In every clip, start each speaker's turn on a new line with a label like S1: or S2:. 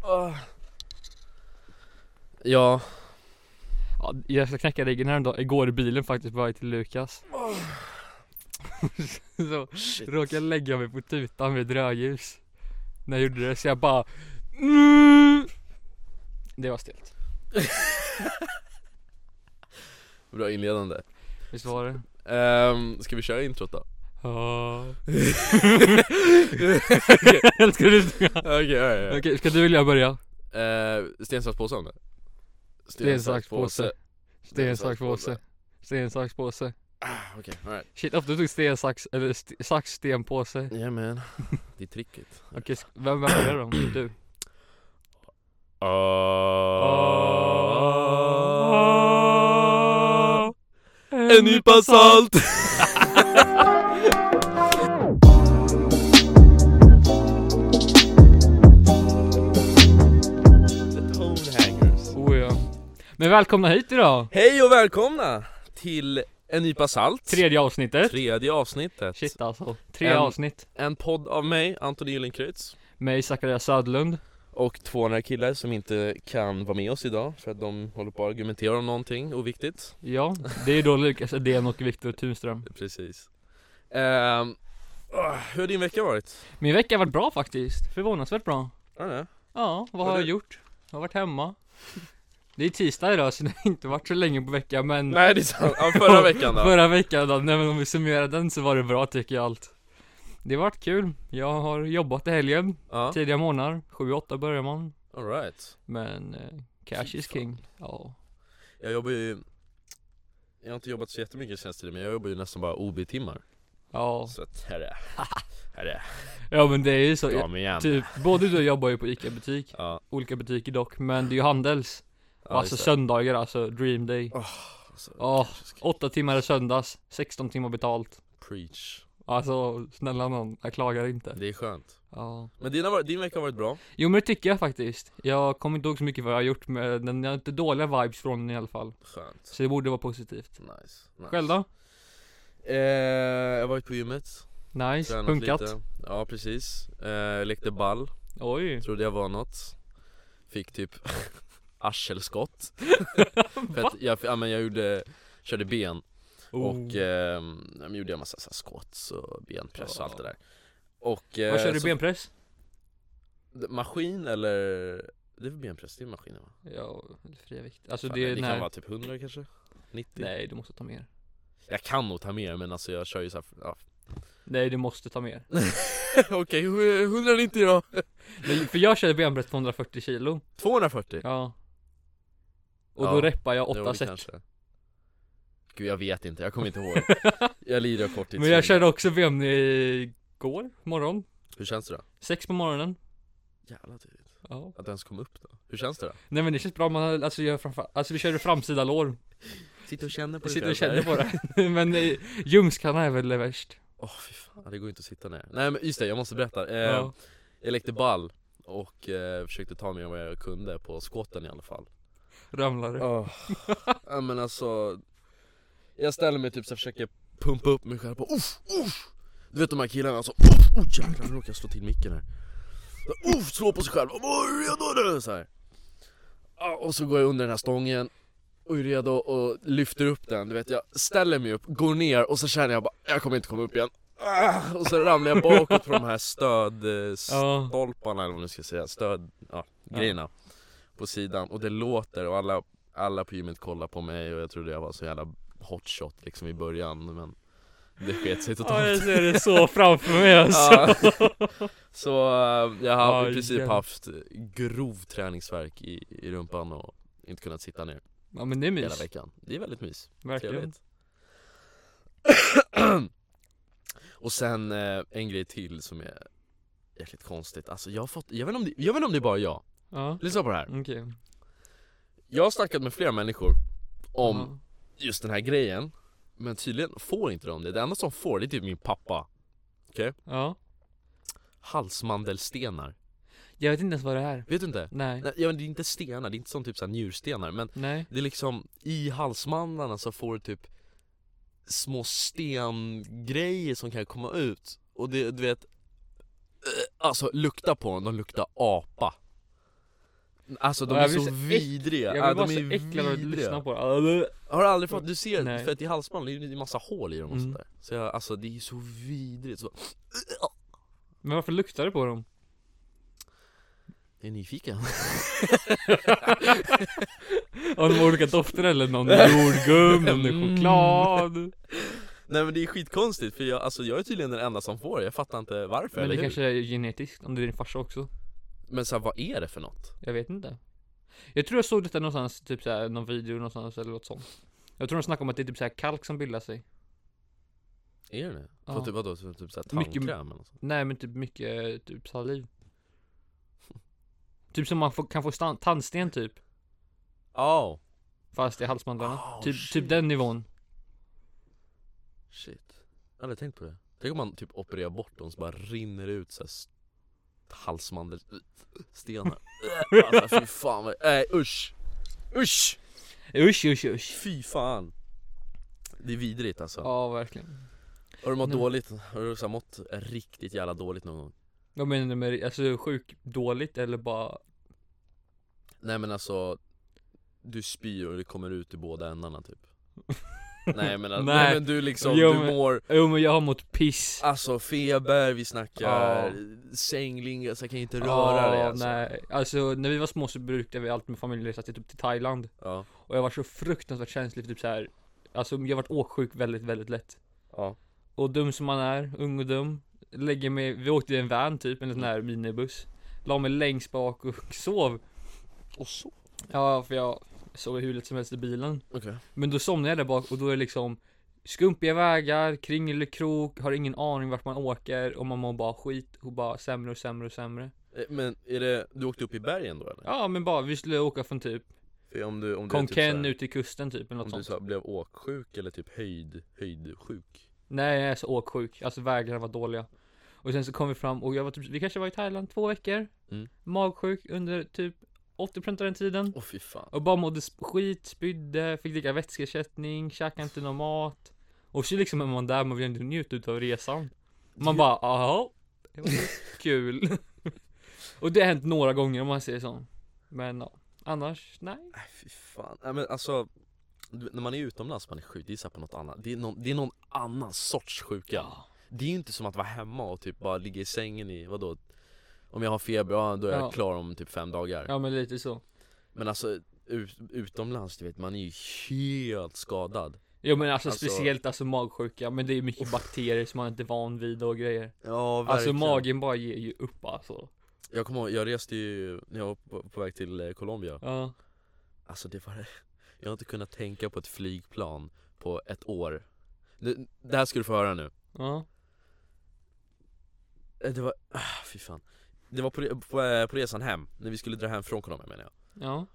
S1: Åh. Ja,
S2: Ja, jag ska knäcka ryggen här en dag, igår i bilen faktiskt på väg till Lukas Så
S1: shit.
S2: råkade jag lägga mig på tutan med rödljus När jag gjorde det så jag bara mm. Det var stelt
S1: Bra inledande.
S2: Visst var det?
S1: Um, ska vi köra introt då?
S2: Ja
S1: Okej,
S2: Älskar du det?
S1: okay, ja, ja.
S2: Okej, ska du eller jag börja?
S1: Eh, sten, sax, påse om det?
S2: Sten, sax, påse Sten, sax, påse Sten, sax, påse
S1: Ah, Okej, alright
S2: Shit, ofta tog sten, sax, eller st- sax, sten, påse
S1: Jajamän, det är tricket
S2: Okej, sk- vem vem börjar då? Du? Ah.
S1: Ah. En nypa salt! The Tonehangers
S2: Oh, ja. Men välkomna hit idag!
S1: Hej och välkomna till En nypa salt
S2: Tredje avsnittet
S1: Tredje avsnittet
S2: Shit alltså, tre
S1: En-
S2: avsnitt
S1: En podd av mig, Anton Gyllenkreutz
S2: Med Zacharias Södlund
S1: Och två andra killar som inte kan vara med oss idag för att de håller på att argumentera om någonting oviktigt
S2: Ja, det är då Lukas Edén och Viktor Tunström
S1: Precis Ehm, åh, Hur har din vecka varit?
S2: Min vecka har varit bra faktiskt, förvånansvärt bra
S1: Ja, det.
S2: Ja, vad
S1: Vad
S2: har
S1: du-
S2: jag gjort? Jag har varit hemma Det är tisdag idag så det har inte varit så länge på veckan men
S1: Nej det är sant, ja, förra veckan då
S2: Förra veckan då, nej men om vi summerar den så var det bra tycker jag allt Det har varit kul, jag har jobbat i helgen,
S1: Ja,
S2: tidiga morgnar, 7-8 börjar man
S1: alright
S2: Men eh, cash
S1: Fy
S2: is
S1: fan.
S2: king, ja
S1: Jag jobbar ju Jag har inte jobbat så jättemycket senaste tiden men jag jobbar ju nästan bara OB-timmar
S2: Ja,
S1: Så att, här är Här är
S2: ja men det är ju så,
S1: jag, kom igen
S2: Typ, både du och jag jobbar ju på ICA-butik,
S1: Ja,
S2: olika butiker dock, men det är ju handels
S1: ja
S2: Alltså
S1: just det.
S2: söndagar alltså, dream day
S1: Alltså,
S2: Ja,
S1: ska-
S2: 8 timmar i söndags, 16 timmar betalt
S1: Preach
S2: Alltså, snälla någon, jag klagar inte
S1: Det är skönt
S2: Ja
S1: Men dina, var- din vecka har varit bra?
S2: Jo men det tycker jag faktiskt Jag kommer inte ihåg så mycket vad jag har gjort, men den- jag har inte dåliga vibes från den i alla fall
S1: Skönt
S2: Så det borde vara positivt
S1: Nice, nice.
S2: Själv då?
S1: Eh, jag har varit på gymmet,
S2: Nice,
S1: tränat
S2: punkat
S1: lite Ja precis, eh, lekte ball,
S2: Oj
S1: trodde jag var något Fick typ arselskott För att jag, ja, men jag gjorde, körde ben
S2: Oh.
S1: och eh, jag gjorde en massa så här squats och benpress och allt det där och, eh,
S2: Vad kör du,
S1: så-
S2: benpress?
S1: Maskin eller? Det är väl benpress, det är maskinen va?
S2: Ja, fria vikt Alltså
S1: Fan,
S2: det är
S1: det
S2: den
S1: kan
S2: här
S1: vara typ 100 kanske? 90?
S2: Nej, du måste ta mer
S1: Jag kan nog ta mer men alltså jag kör ju såhär, ja.
S2: Nej, du måste ta mer
S1: Okej, 190 då?
S2: Men, För jag körde benpress på 140 kilo
S1: 240?
S2: Ja Och
S1: Ja,
S2: då reppar jag
S1: Jo,
S2: åtta
S1: det
S2: set
S1: kanske. Gud jag vet inte, jag kommer inte ihåg Jag lider av korttidsminne
S2: Men jag körde också VM igår morgon
S1: Hur känns det då?
S2: Sex på morgonen
S1: Jävla tidigt
S2: Ja
S1: Att det ens kom upp då Hur känns det då?
S2: Nej men det känns bra, man har- alltså jag framför, alltså vi körde framsida lår
S1: Sitter och känner på
S2: Jag sitter och känner på det Men eh, ljumskarna är väl det värst
S1: Åh fy fan, det går inte att sitta ner Nej men just det, jag måste berätta eh,
S2: Ja
S1: Jag lekte ball och eh, försökte ta mig vad jag kunde på skåten i alla fall
S2: Ramlar det
S1: oh. ja, men alltså Jag ställer mig typ så här, försöker pumpa upp mig själv på uff, uff. Du vet de här killarna alltså, uff, oh, jävlar nu råkade jag slå till micken här Så, Uff, slå på sig själv, oh, är du redo nu? Så här. Ja, Och så går jag under den här stången och är redo och lyfter upp den, du vet jag ställer mig upp, går ner och så känner jag bara jag kommer inte komma upp igen Ah, Och så ramlar jag bakåt på de här stöd, eh,
S2: Ja
S1: stolparna eller vad man ska säga, stöd, ja, grejerna På sidan och det låter och alla, alla på gymmet kollar på mig och jag trodde jag var så jävla hot shot liksom i början men Det sket sig
S2: Ja, jag
S1: totalt
S2: ser det så framför mig alltså
S1: Ja. Så eh, jag har i
S2: Aj,
S1: princip
S2: jävlar.
S1: haft grov träningsvärk i, i rumpan och inte kunnat sitta ner
S2: Ja men det är
S1: hela
S2: mys,
S1: veckan Det är väldigt mys,
S2: verkligen
S1: trevligt Och sen eh, en grej till som är jäkligt konstigt, alltså jag har fått, jag vet inte om det, jag vet inte om det är bara jag
S2: Ja,
S1: Lyssna på det här.
S2: okej
S1: Jag har snackat med flera människor om
S2: Ja.
S1: just den här grejen. Men tydligen får inte de det. Det enda som får det är typ min pappa.
S2: Ja
S1: Halsmandelstenar.
S2: Jag vet inte ens vad det är
S1: Vet du inte?
S2: Nej
S1: Nej, ja, men det är inte stenar, det är inte som typ så här njurstenar. Men
S2: Nej
S1: det är liksom i halsmandlarna så får du typ små stengrejer som kan komma ut. Och det, du vet, eh, alltså lukta på dem, de luktar apa. Alltså de
S2: Ja,
S1: är
S2: jag blir
S1: så
S2: så äck-
S1: vidriga,
S2: Jag
S1: ja,
S2: blir bara
S1: de
S2: så
S1: är
S2: äcklad av att lyssna
S1: vidriga
S2: på det.
S1: Har du aldrig fått, du ser,
S2: Nej.
S1: för att i halsband det är ju en massa hål i dem och
S2: Mm.
S1: sånt där Så jag, alltså det är ju så vidrigt så,
S2: Men varför luktar det på dem?
S1: jag är nyfiken
S2: Har de olika dofter eller någon jordgubb, någon choklad?
S1: Nej men det är skitkonstigt för jag, alltså jag är tydligen den enda som får det, jag fattar inte varför
S2: Men
S1: eller
S2: det
S1: hur?
S2: kanske är genetiskt, om det är din farsa också.
S1: Men så här, vad är det för något?
S2: Jag vet inte. Jag tror jag såg detta någonstans, typ såhär, någon video någonstans eller något sånt. Jag tror de snackade om att det är typ såhär kalk som bildar sig.
S1: Är det det?
S2: Ja.
S1: För typ vadå, typ, typ såhär
S2: Mycket-
S1: tandkräm eller något sånt?
S2: Nej men typ mycket, eh, typ saliv. Typ som man får, kan få stan- tandsten typ.
S1: Oh,
S2: Fast i halsmandlarna.
S1: Oh,
S2: typ,
S1: shit.
S2: typ den nivån.
S1: shit Jag har aldrig tänkt på det Tänk om man typ opererar bort dem så bara rinner det ut såhär halsmandelstenar Alltså fy fan vad, nej usch! Usch!
S2: Usch usch usch.
S1: Fy fan! Det är vidrigt alltså.
S2: Ja verkligen.
S1: Har du mått
S2: Nej.
S1: dåligt? Har du så här mått riktigt jävla dåligt någon gång?
S2: Vad menar du med alltså sjuk, dåligt eller bara?
S1: Nej men alltså, du spyr och det kommer ut i båda ändarna typ Nej men, alltså, nej.
S2: Nej.
S1: men du liksom,
S2: Jo,
S1: du
S2: men-
S1: mår
S2: Jo men jag har mått piss.
S1: Alltså feber, vi snackar
S2: Ja.
S1: sänglingar, så jag kan inte röra dig alltså
S2: nej. Alltså när vi var små så brukade vi alltid med familjeresa till typ till Thailand.
S1: Ja,
S2: Och jag var så fruktansvärt känslig för typ så här. Alltså jag varit åksjuk väldigt, väldigt lätt.
S1: ja,
S2: Och dum som man är, ung och dum. Lägger mig, vi åkte i en van typ, en sån
S1: Mm.
S2: här minibuss. La mig längst bak och sov.
S1: och så
S2: Ja, för jag sov hur lätt som helst i bilen.
S1: Okej,
S2: Men då somnade jag där bak och då är det liksom skumpiga vägar, kringelikrok, har ingen aning vart man åker och man mår bara skit och bara sämre och sämre och sämre.
S1: Eh, men är det, du åkte upp i bergen då eller?
S2: Ja, men bara vi skulle åka från typ
S1: För om du, om du är typ
S2: Konken
S1: så här-
S2: ut till kusten typ eller något
S1: Om du
S2: sånt.
S1: så här blev åksjuk eller typ höjd, höjdsjuk?
S2: Nej, jag är så åksjuk. Alltså vägarna var dåliga. Och sen så kom vi fram och jag var typ, vi kanske var i Thailand två veckor.
S1: Mm.
S2: Magsjuk under typ 80% av den tiden.
S1: Åh fy fan
S2: Och bara mådde sp- skit, spydde, fick dricka vätskeersättning, käkade inte någon mat. Och så liksom är man där, man vill ändå njuta utav resan. Man bara, jaha, det var ju kul. och det har hänt några gånger om man säger så. Men ja, annars, nej.
S1: Nej fy fan, nej men alltså du vet, när man är utomlands man är sjuk, det är så här på något annat Det är någon, det är någon annan sorts sjuka Det är ju inte som att vara hemma och typ bara ligga i sängen i, vadå? Om jag har feber, ja då är jag
S2: Ja.
S1: klar om typ fem dagar
S2: Ja men lite så.
S1: Men alltså ut, utomlands du vet, man är ju helt skadad
S2: Jo men alltså,
S1: Alltså-
S2: speciellt alltså magsjuka, men det är ju mycket bakterier som man inte är van vid och grejer.
S1: Ja
S2: Alltså magen bara ger ju upp alltså.
S1: Jag kommer ihåg, jag reste ju när jag var på, på väg till eh, Colombia
S2: Ja.
S1: Alltså det var Jag har inte kunnat tänka på ett flygplan på ett år Det, det här ska du få höra nu
S2: Ja.
S1: Eh, Det var, ah, fy fan Det var på, re- på, eh, på resan hem, när vi skulle dra hem från Colombia menar jag
S2: Ja.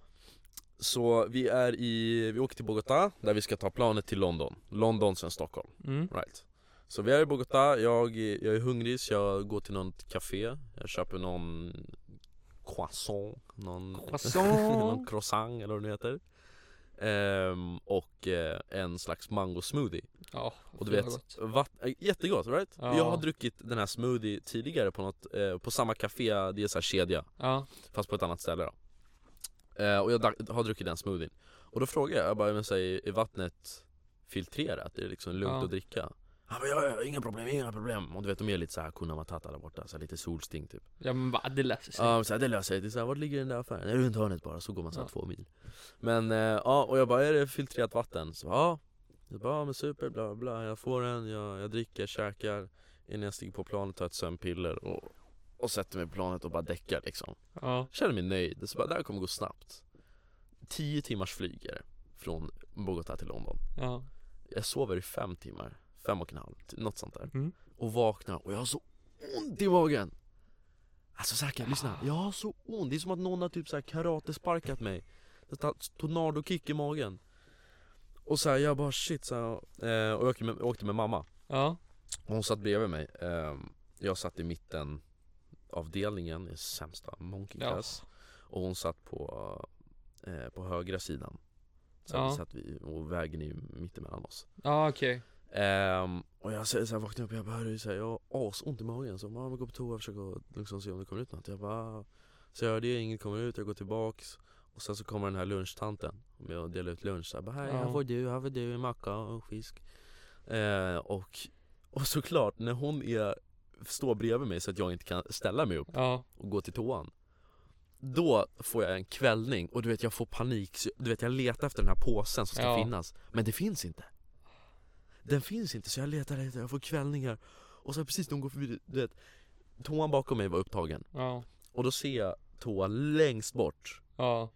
S1: Så vi är i, vi åker till Bogotá där vi ska ta planet till London London sen Stockholm,
S2: Mm.
S1: right Så vi är i Bogotá, jag, är- jag är hungrig så jag går till något café Jag köper någon croissant, någon någon
S2: Croissant.
S1: croissant eller vad det nu heter Ehm, Och eh, en slags mango smoothie
S2: Ja.
S1: och du
S2: det
S1: vet,
S2: var gott.
S1: vatt, äh, jättegott right?
S2: Ja.
S1: Jag har druckit den här smoothie tidigare på något, eh, på samma café, det är så här kedja,
S2: Ja.
S1: fast på ett annat ställe då eh, Och jag da- har druckit den smoothien Och då frågar jag, jag bara, men så här, är vattnet filtrerat? Är det liksom lugnt
S2: Ja.
S1: att dricka? Han bara, ja, ja, inga problem, inga problem Och du vet de är lite så här Kuna Matata där borta, så här, lite solsting typ
S2: Ja men va, det löser sig.
S1: Ja men så här, det löser sig, det är så här, vart ligger den där affären? Det är runt hörnet bara, så går man så här
S2: Ja.
S1: två mil Men eh, ja, och jag bara är det filtrerat vatten? Så bara, ja Jag bara, ja men super, bla bla, bla jag får den, jag, jag dricker, käkar Innan jag stiger på planet tar jag ett sömnpiller och, och sätter mig på planet och bara däckar liksom
S2: Ja.
S1: Känner mig nöjd, så bara det här kommer gå snabbt 10 timmars flyg är det, från Bogotá till London
S2: Ja.
S1: Jag sover i fem timmar, fem och en halv, t- något sånt där
S2: Mm.
S1: och vaknar och jag har så ont i magen Alltså säkert, lyssna, jag har så ont, det är som att någon har typ så här karatesparkat mig Jag har tagit Tornadokick i magen Och så här, jag bara shit så här, eh, och jag åkte med, jag åkte med mamma
S2: Ja.
S1: och Hon satt bredvid mig, eh, jag satt i mitten avdelningen, i sämsta monkey
S2: Ja.
S1: class Och hon satt på, eh, på högra sidan så
S2: Ja.
S1: vi satt vi, och vägen är ju mittemellan oss
S2: Ja okej.
S1: Ehm, och jag säger så här, vaknar upp och jag bara hörru, så här, jag har asont i magen så mamma gå på toa och försöka liksom, se om det kommer ut något Jag bara Så jag gör det, inget kommer ut, jag går tillbaks Och sen så kommer den här lunchtanten Med och delar ut lunch så här, bara, här, här
S2: Ja.
S1: får du, här får du en macka och fisk eh, och, och såklart, när hon är, står bredvid mig så att jag inte kan ställa mig upp
S2: Ja,
S1: och gå till toan Då får jag en kvällning och du vet jag får panik, så- du vet jag letar efter den här påsen som ska
S2: Ja.
S1: finnas Men det finns inte Den finns inte så jag letar efter, jag får kvällningar Och sen precis när hon går förbi, du vet Toan bakom mig var upptagen
S2: ja,
S1: och då ser jag toan längst bort
S2: ja,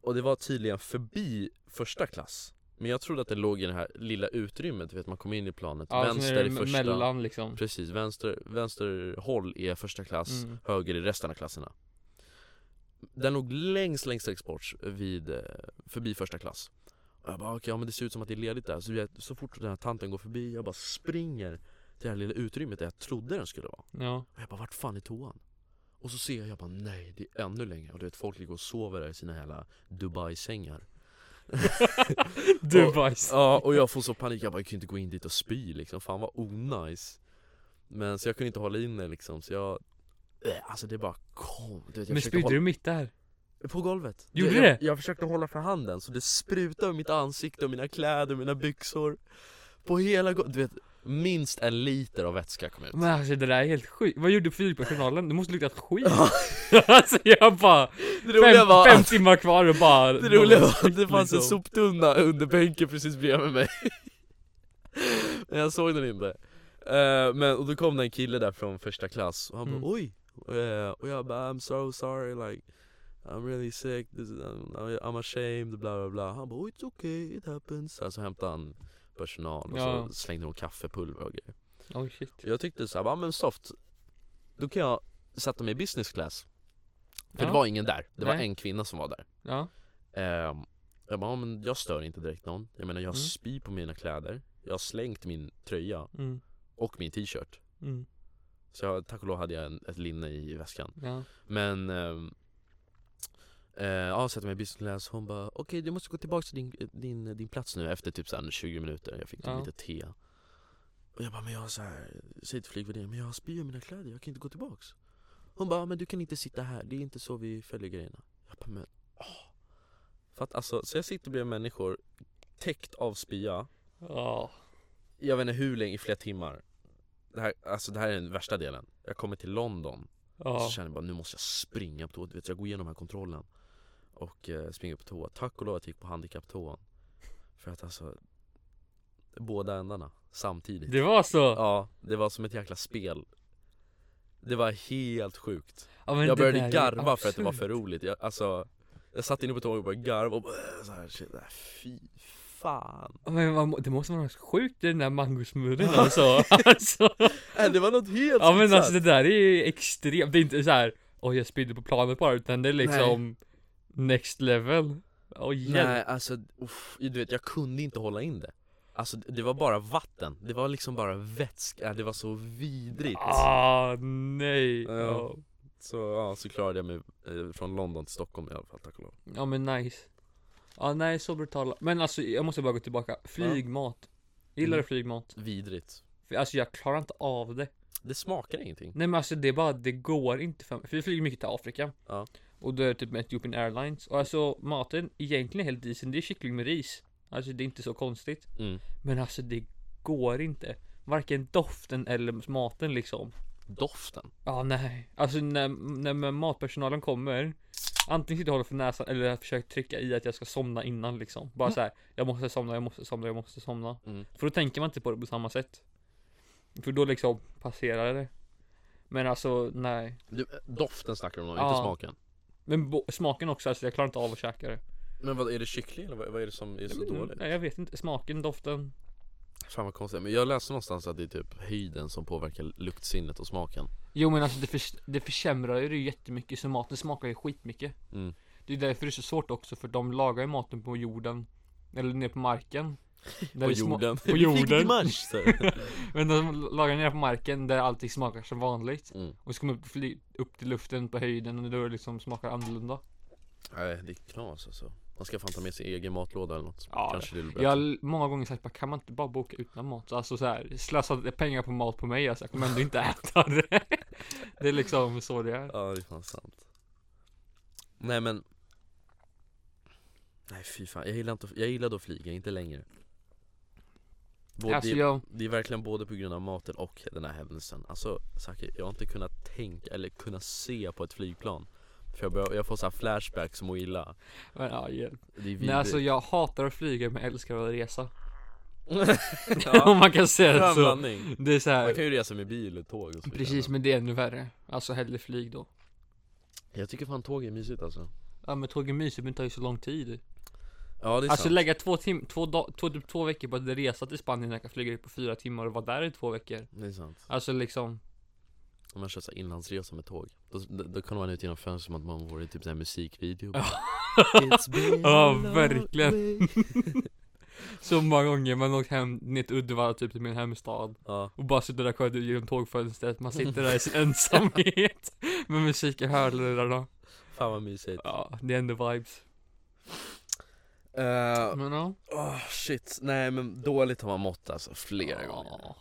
S1: Och det var tydligen förbi första klass Men jag trodde att det låg i det här lilla utrymmet, du vet man kommer in i planet
S2: ja sen är
S1: Vänster
S2: det
S1: i
S2: me-
S1: första
S2: mellan liksom
S1: Precis, vänster, vänster håll är första klass,
S2: Mm.
S1: höger i resten av klasserna Den låg längst, längst, längst bort vid, eh, förbi första klass Och jag bara okej, ja men det ser ut som att det är ledigt där Så, jag, så fort den här tanten går förbi, jag bara springer till det här lilla utrymmet där jag trodde den skulle vara
S2: Ja,
S1: och jag bara, vart fan är toan? Och så ser jag, jag bara, nej det är ännu längre. Och du vet, folk ligger och sover där i sina hela Dubai-sängar.
S2: Dubai
S1: Ja, och jag får så panik, jag bara, jag kan ju inte gå in dit och spy liksom. Fan vad onajs. Men så jag kunde inte hålla in det liksom, så jag... Äh, Alltså det bara kom. Du vet, jag
S2: Men
S1: försökte
S2: spydde du mitt där?
S1: hålla... På golvet.
S2: Gjorde
S1: jag,
S2: det?
S1: Jag, jag försökte hålla för handen, så det sprutade över mitt ansikte och mina kläder och mina byxor. På hela golvet. Du vet, minst en liter av vätska kom ut.
S2: Men alltså det där är helt sjukt, vad gjorde fyrpersonalen? Du måste luktat skit!
S1: Ja.
S2: alltså jag bara,
S1: Det
S2: fem,
S1: var
S2: fem
S1: att-
S2: timmar kvar och bara
S1: Det roliga var att det fanns en
S2: liksom.
S1: soptunna under bänken precis bredvid mig Men jag såg den inte Eh, Men, och då kom det en kille där från första klass och han
S2: Mm.
S1: bara oj Eh, Och jag bara I'm so sorry like I'm really sick, this is, I'm, I'm ashamed, bla bla bla Han bara oh, it's okay, it happens Sen så hämtade han personal och
S2: Ja.
S1: så slängde de kaffepulver och grejer
S2: Oj shit
S1: Jag tyckte såhär, ja men soft Då kan jag sätta mig i business class För
S2: Ja.
S1: det var ingen där, det var
S2: Nej.
S1: en kvinna som var där
S2: Ja,
S1: Ehm, jag bara, ja, men jag stör inte direkt någon. Jag menar jag
S2: Mm.
S1: spyr på mina kläder. Jag har slängt min tröja
S2: mm,
S1: och min t-shirt.
S2: mm,
S1: Så jag, tack och lov hade jag en, ett linne i väskan.
S2: ja,
S1: Men ehm, eh, ja, sätter mig i business class. Hon bara, okej du måste gå tillbaka till din, din, din plats nu efter typ så här 20 minuter. Jag fick typ
S2: Ja.
S1: lite te. Och jag bara, men jag har så här, säger till flygvärdinnan, men jag spyr i mina kläder, jag kan inte gå tillbaks. Hon bara, men du kan inte sitta här, det är inte så vi följer grejerna. Jag bara, men åh. För att alltså, så jag sitter bredvid människor täckt av spya,
S2: ja,
S1: jag vet inte hur länge, i flera timmar. Det här, alltså det här är den värsta delen. Jag kommer till London
S2: ja,
S1: så känner jag bara nu måste jag springa på toa, du vet jag går igenom den här kontrollen Och eh, springer på toa, tack och lov att jag gick på handikapptoan För att alltså Båda ändarna samtidigt
S2: det var så? Ja,
S1: Ja, det var som ett jäkla spel Det var helt sjukt
S2: men
S1: Jag
S2: det
S1: började
S2: där är
S1: garva för att det var
S2: absurt.
S1: för roligt jag, Alltså Jag satt inne på toan och började garva och bara, så här, shit, nej, fy fan
S2: Ja, Men vad må- det måste vara något sjukt i den där mangosmurren alltså. alltså
S1: äh, Det var något helt
S2: Ja men
S1: bisarrt.
S2: alltså det där är extremt, det är inte så här. oj jag spydde på planet bara utan det är liksom next level Oj jävlar.
S1: Nej alltså, uff, du vet jag kunde inte hålla in det Alltså det var bara vatten, det var liksom bara vätska, det var så vidrigt
S2: Ah nej!
S1: Ja.
S2: Ja.
S1: Så ja, så klarade jag mig eh, från London till Stockholm i alla fall tack och lov
S2: ja men nice Ja nej så brutala, men alltså jag måste bara gå tillbaka, flygmat Gillar du
S1: Mm.
S2: flygmat?
S1: Vidrigt
S2: För, alltså jag klarar inte av det
S1: Det smakar ingenting
S2: Nej men alltså det är bara, det går inte för mig, för vi flyger mycket till Afrika
S1: Ja.
S2: Och då är det typ med Ethiopian Airlines, och alltså maten egentligen är helt decent, det är kyckling med ris Alltså det är inte så konstigt
S1: mm.
S2: Men alltså det går inte. Varken doften eller maten liksom.
S1: Doften
S2: Ja nej. Alltså när, när med matpersonalen kommer. Antingen sitter jag och håller för näsan eller jag försöker trycka i att jag ska somna innan liksom. Bara så här, jag måste somna, jag måste somna, jag måste somna.
S1: Mm.
S2: För då tänker man inte på det på samma sätt. För då liksom passerar det. Men alltså nej.
S1: du, eh, Doften snackar de om,
S2: Ja.
S1: inte smaken
S2: Men bo- smaken också, alltså jag klarar inte av att käka det.
S1: Men vad, är det kyckling eller vad, vad är det som är så dåligt?
S2: Nej jag vet inte, smaken, doften.
S1: Fan vad konstigt, men jag läste någonstans att det är typ höjden som påverkar luktsinnet och smaken
S2: Jo men alltså det, förs- det försämrar ju det jättemycket så maten smakar ju skitmycket.
S1: Mm.
S2: Det är därför det är så svårt också för de lagar ju maten på jorden. Eller ner på marken.
S1: På
S2: Där det sma-
S1: jorden
S2: På jorden.
S1: mars
S2: Men de lagar ner på marken där allting smakar som vanligt.
S1: mm.
S2: Och så kommer upp, fly- upp till luften på höjden och då liksom smakar annorlunda.
S1: Nej det är knas alltså Man ska fan ta med sin egen matlåda eller något
S2: Ja,
S1: Kanske det är bättre
S2: Jag har många gånger sagt bara, kan man inte bara boka utan mat? Alltså så här, slösa pengar på mat på mig alltså, jag kommer ändå inte äta det. det är liksom så det är.
S1: Ja det är fan sant Nej men Nej fy fan, jag gillar inte, jag gillade att flyga, inte längre Både,
S2: Alltså jag,
S1: Det är verkligen både på grund av maten och den här händelsen Alltså Zaki, jag har inte kunnat tänka eller kunnat se på ett flygplan För jag, börjar, jag får så här flashbacks och mår illa
S2: men, ja, hjälp.
S1: Det är vidrigt
S2: Nej alltså jag hatar att flyga men jag älskar att resa Om
S1: ja,
S2: man kan säga det
S1: skön
S2: så
S1: blandning
S2: Det är så
S1: Man
S2: här,
S1: kan ju resa med bil och tåg och så vidare.
S2: alltså- precis men det är ännu värre Alltså hellre flyg då
S1: Jag tycker fan tåg är mysigt alltså
S2: Ja men tåg är mysigt men det tar ju så lång tid
S1: Ja det är
S2: Alltså
S1: sant
S2: lägga två tim, två, dag, två, typ två veckor på att resa till Spanien när jag kan flyga dit på fyra timmar och vara där i två veckor
S1: Det är sant
S2: Alltså liksom
S1: Om man kör så här inlandsresa med tåg Då, då, då kollar man ut genom fönstret som att man vore i typ såhär musikvideo It's been a
S2: Ja,
S1: long
S2: verkligen.
S1: way.
S2: Så många gånger man har åkt hem ner till Uddevalla typ till min hemstad
S1: Ja,
S2: Och bara sitter där och kollar ut genom tågfönstret, man sitter där i sin ensamhet Med musik i hörlurarna
S1: fan vad mysigt
S2: Ja, det är ändå vibes
S1: Eh,
S2: Men ja
S1: Åh shit, nej men dåligt har man mått alltså flera
S2: Ja.
S1: gånger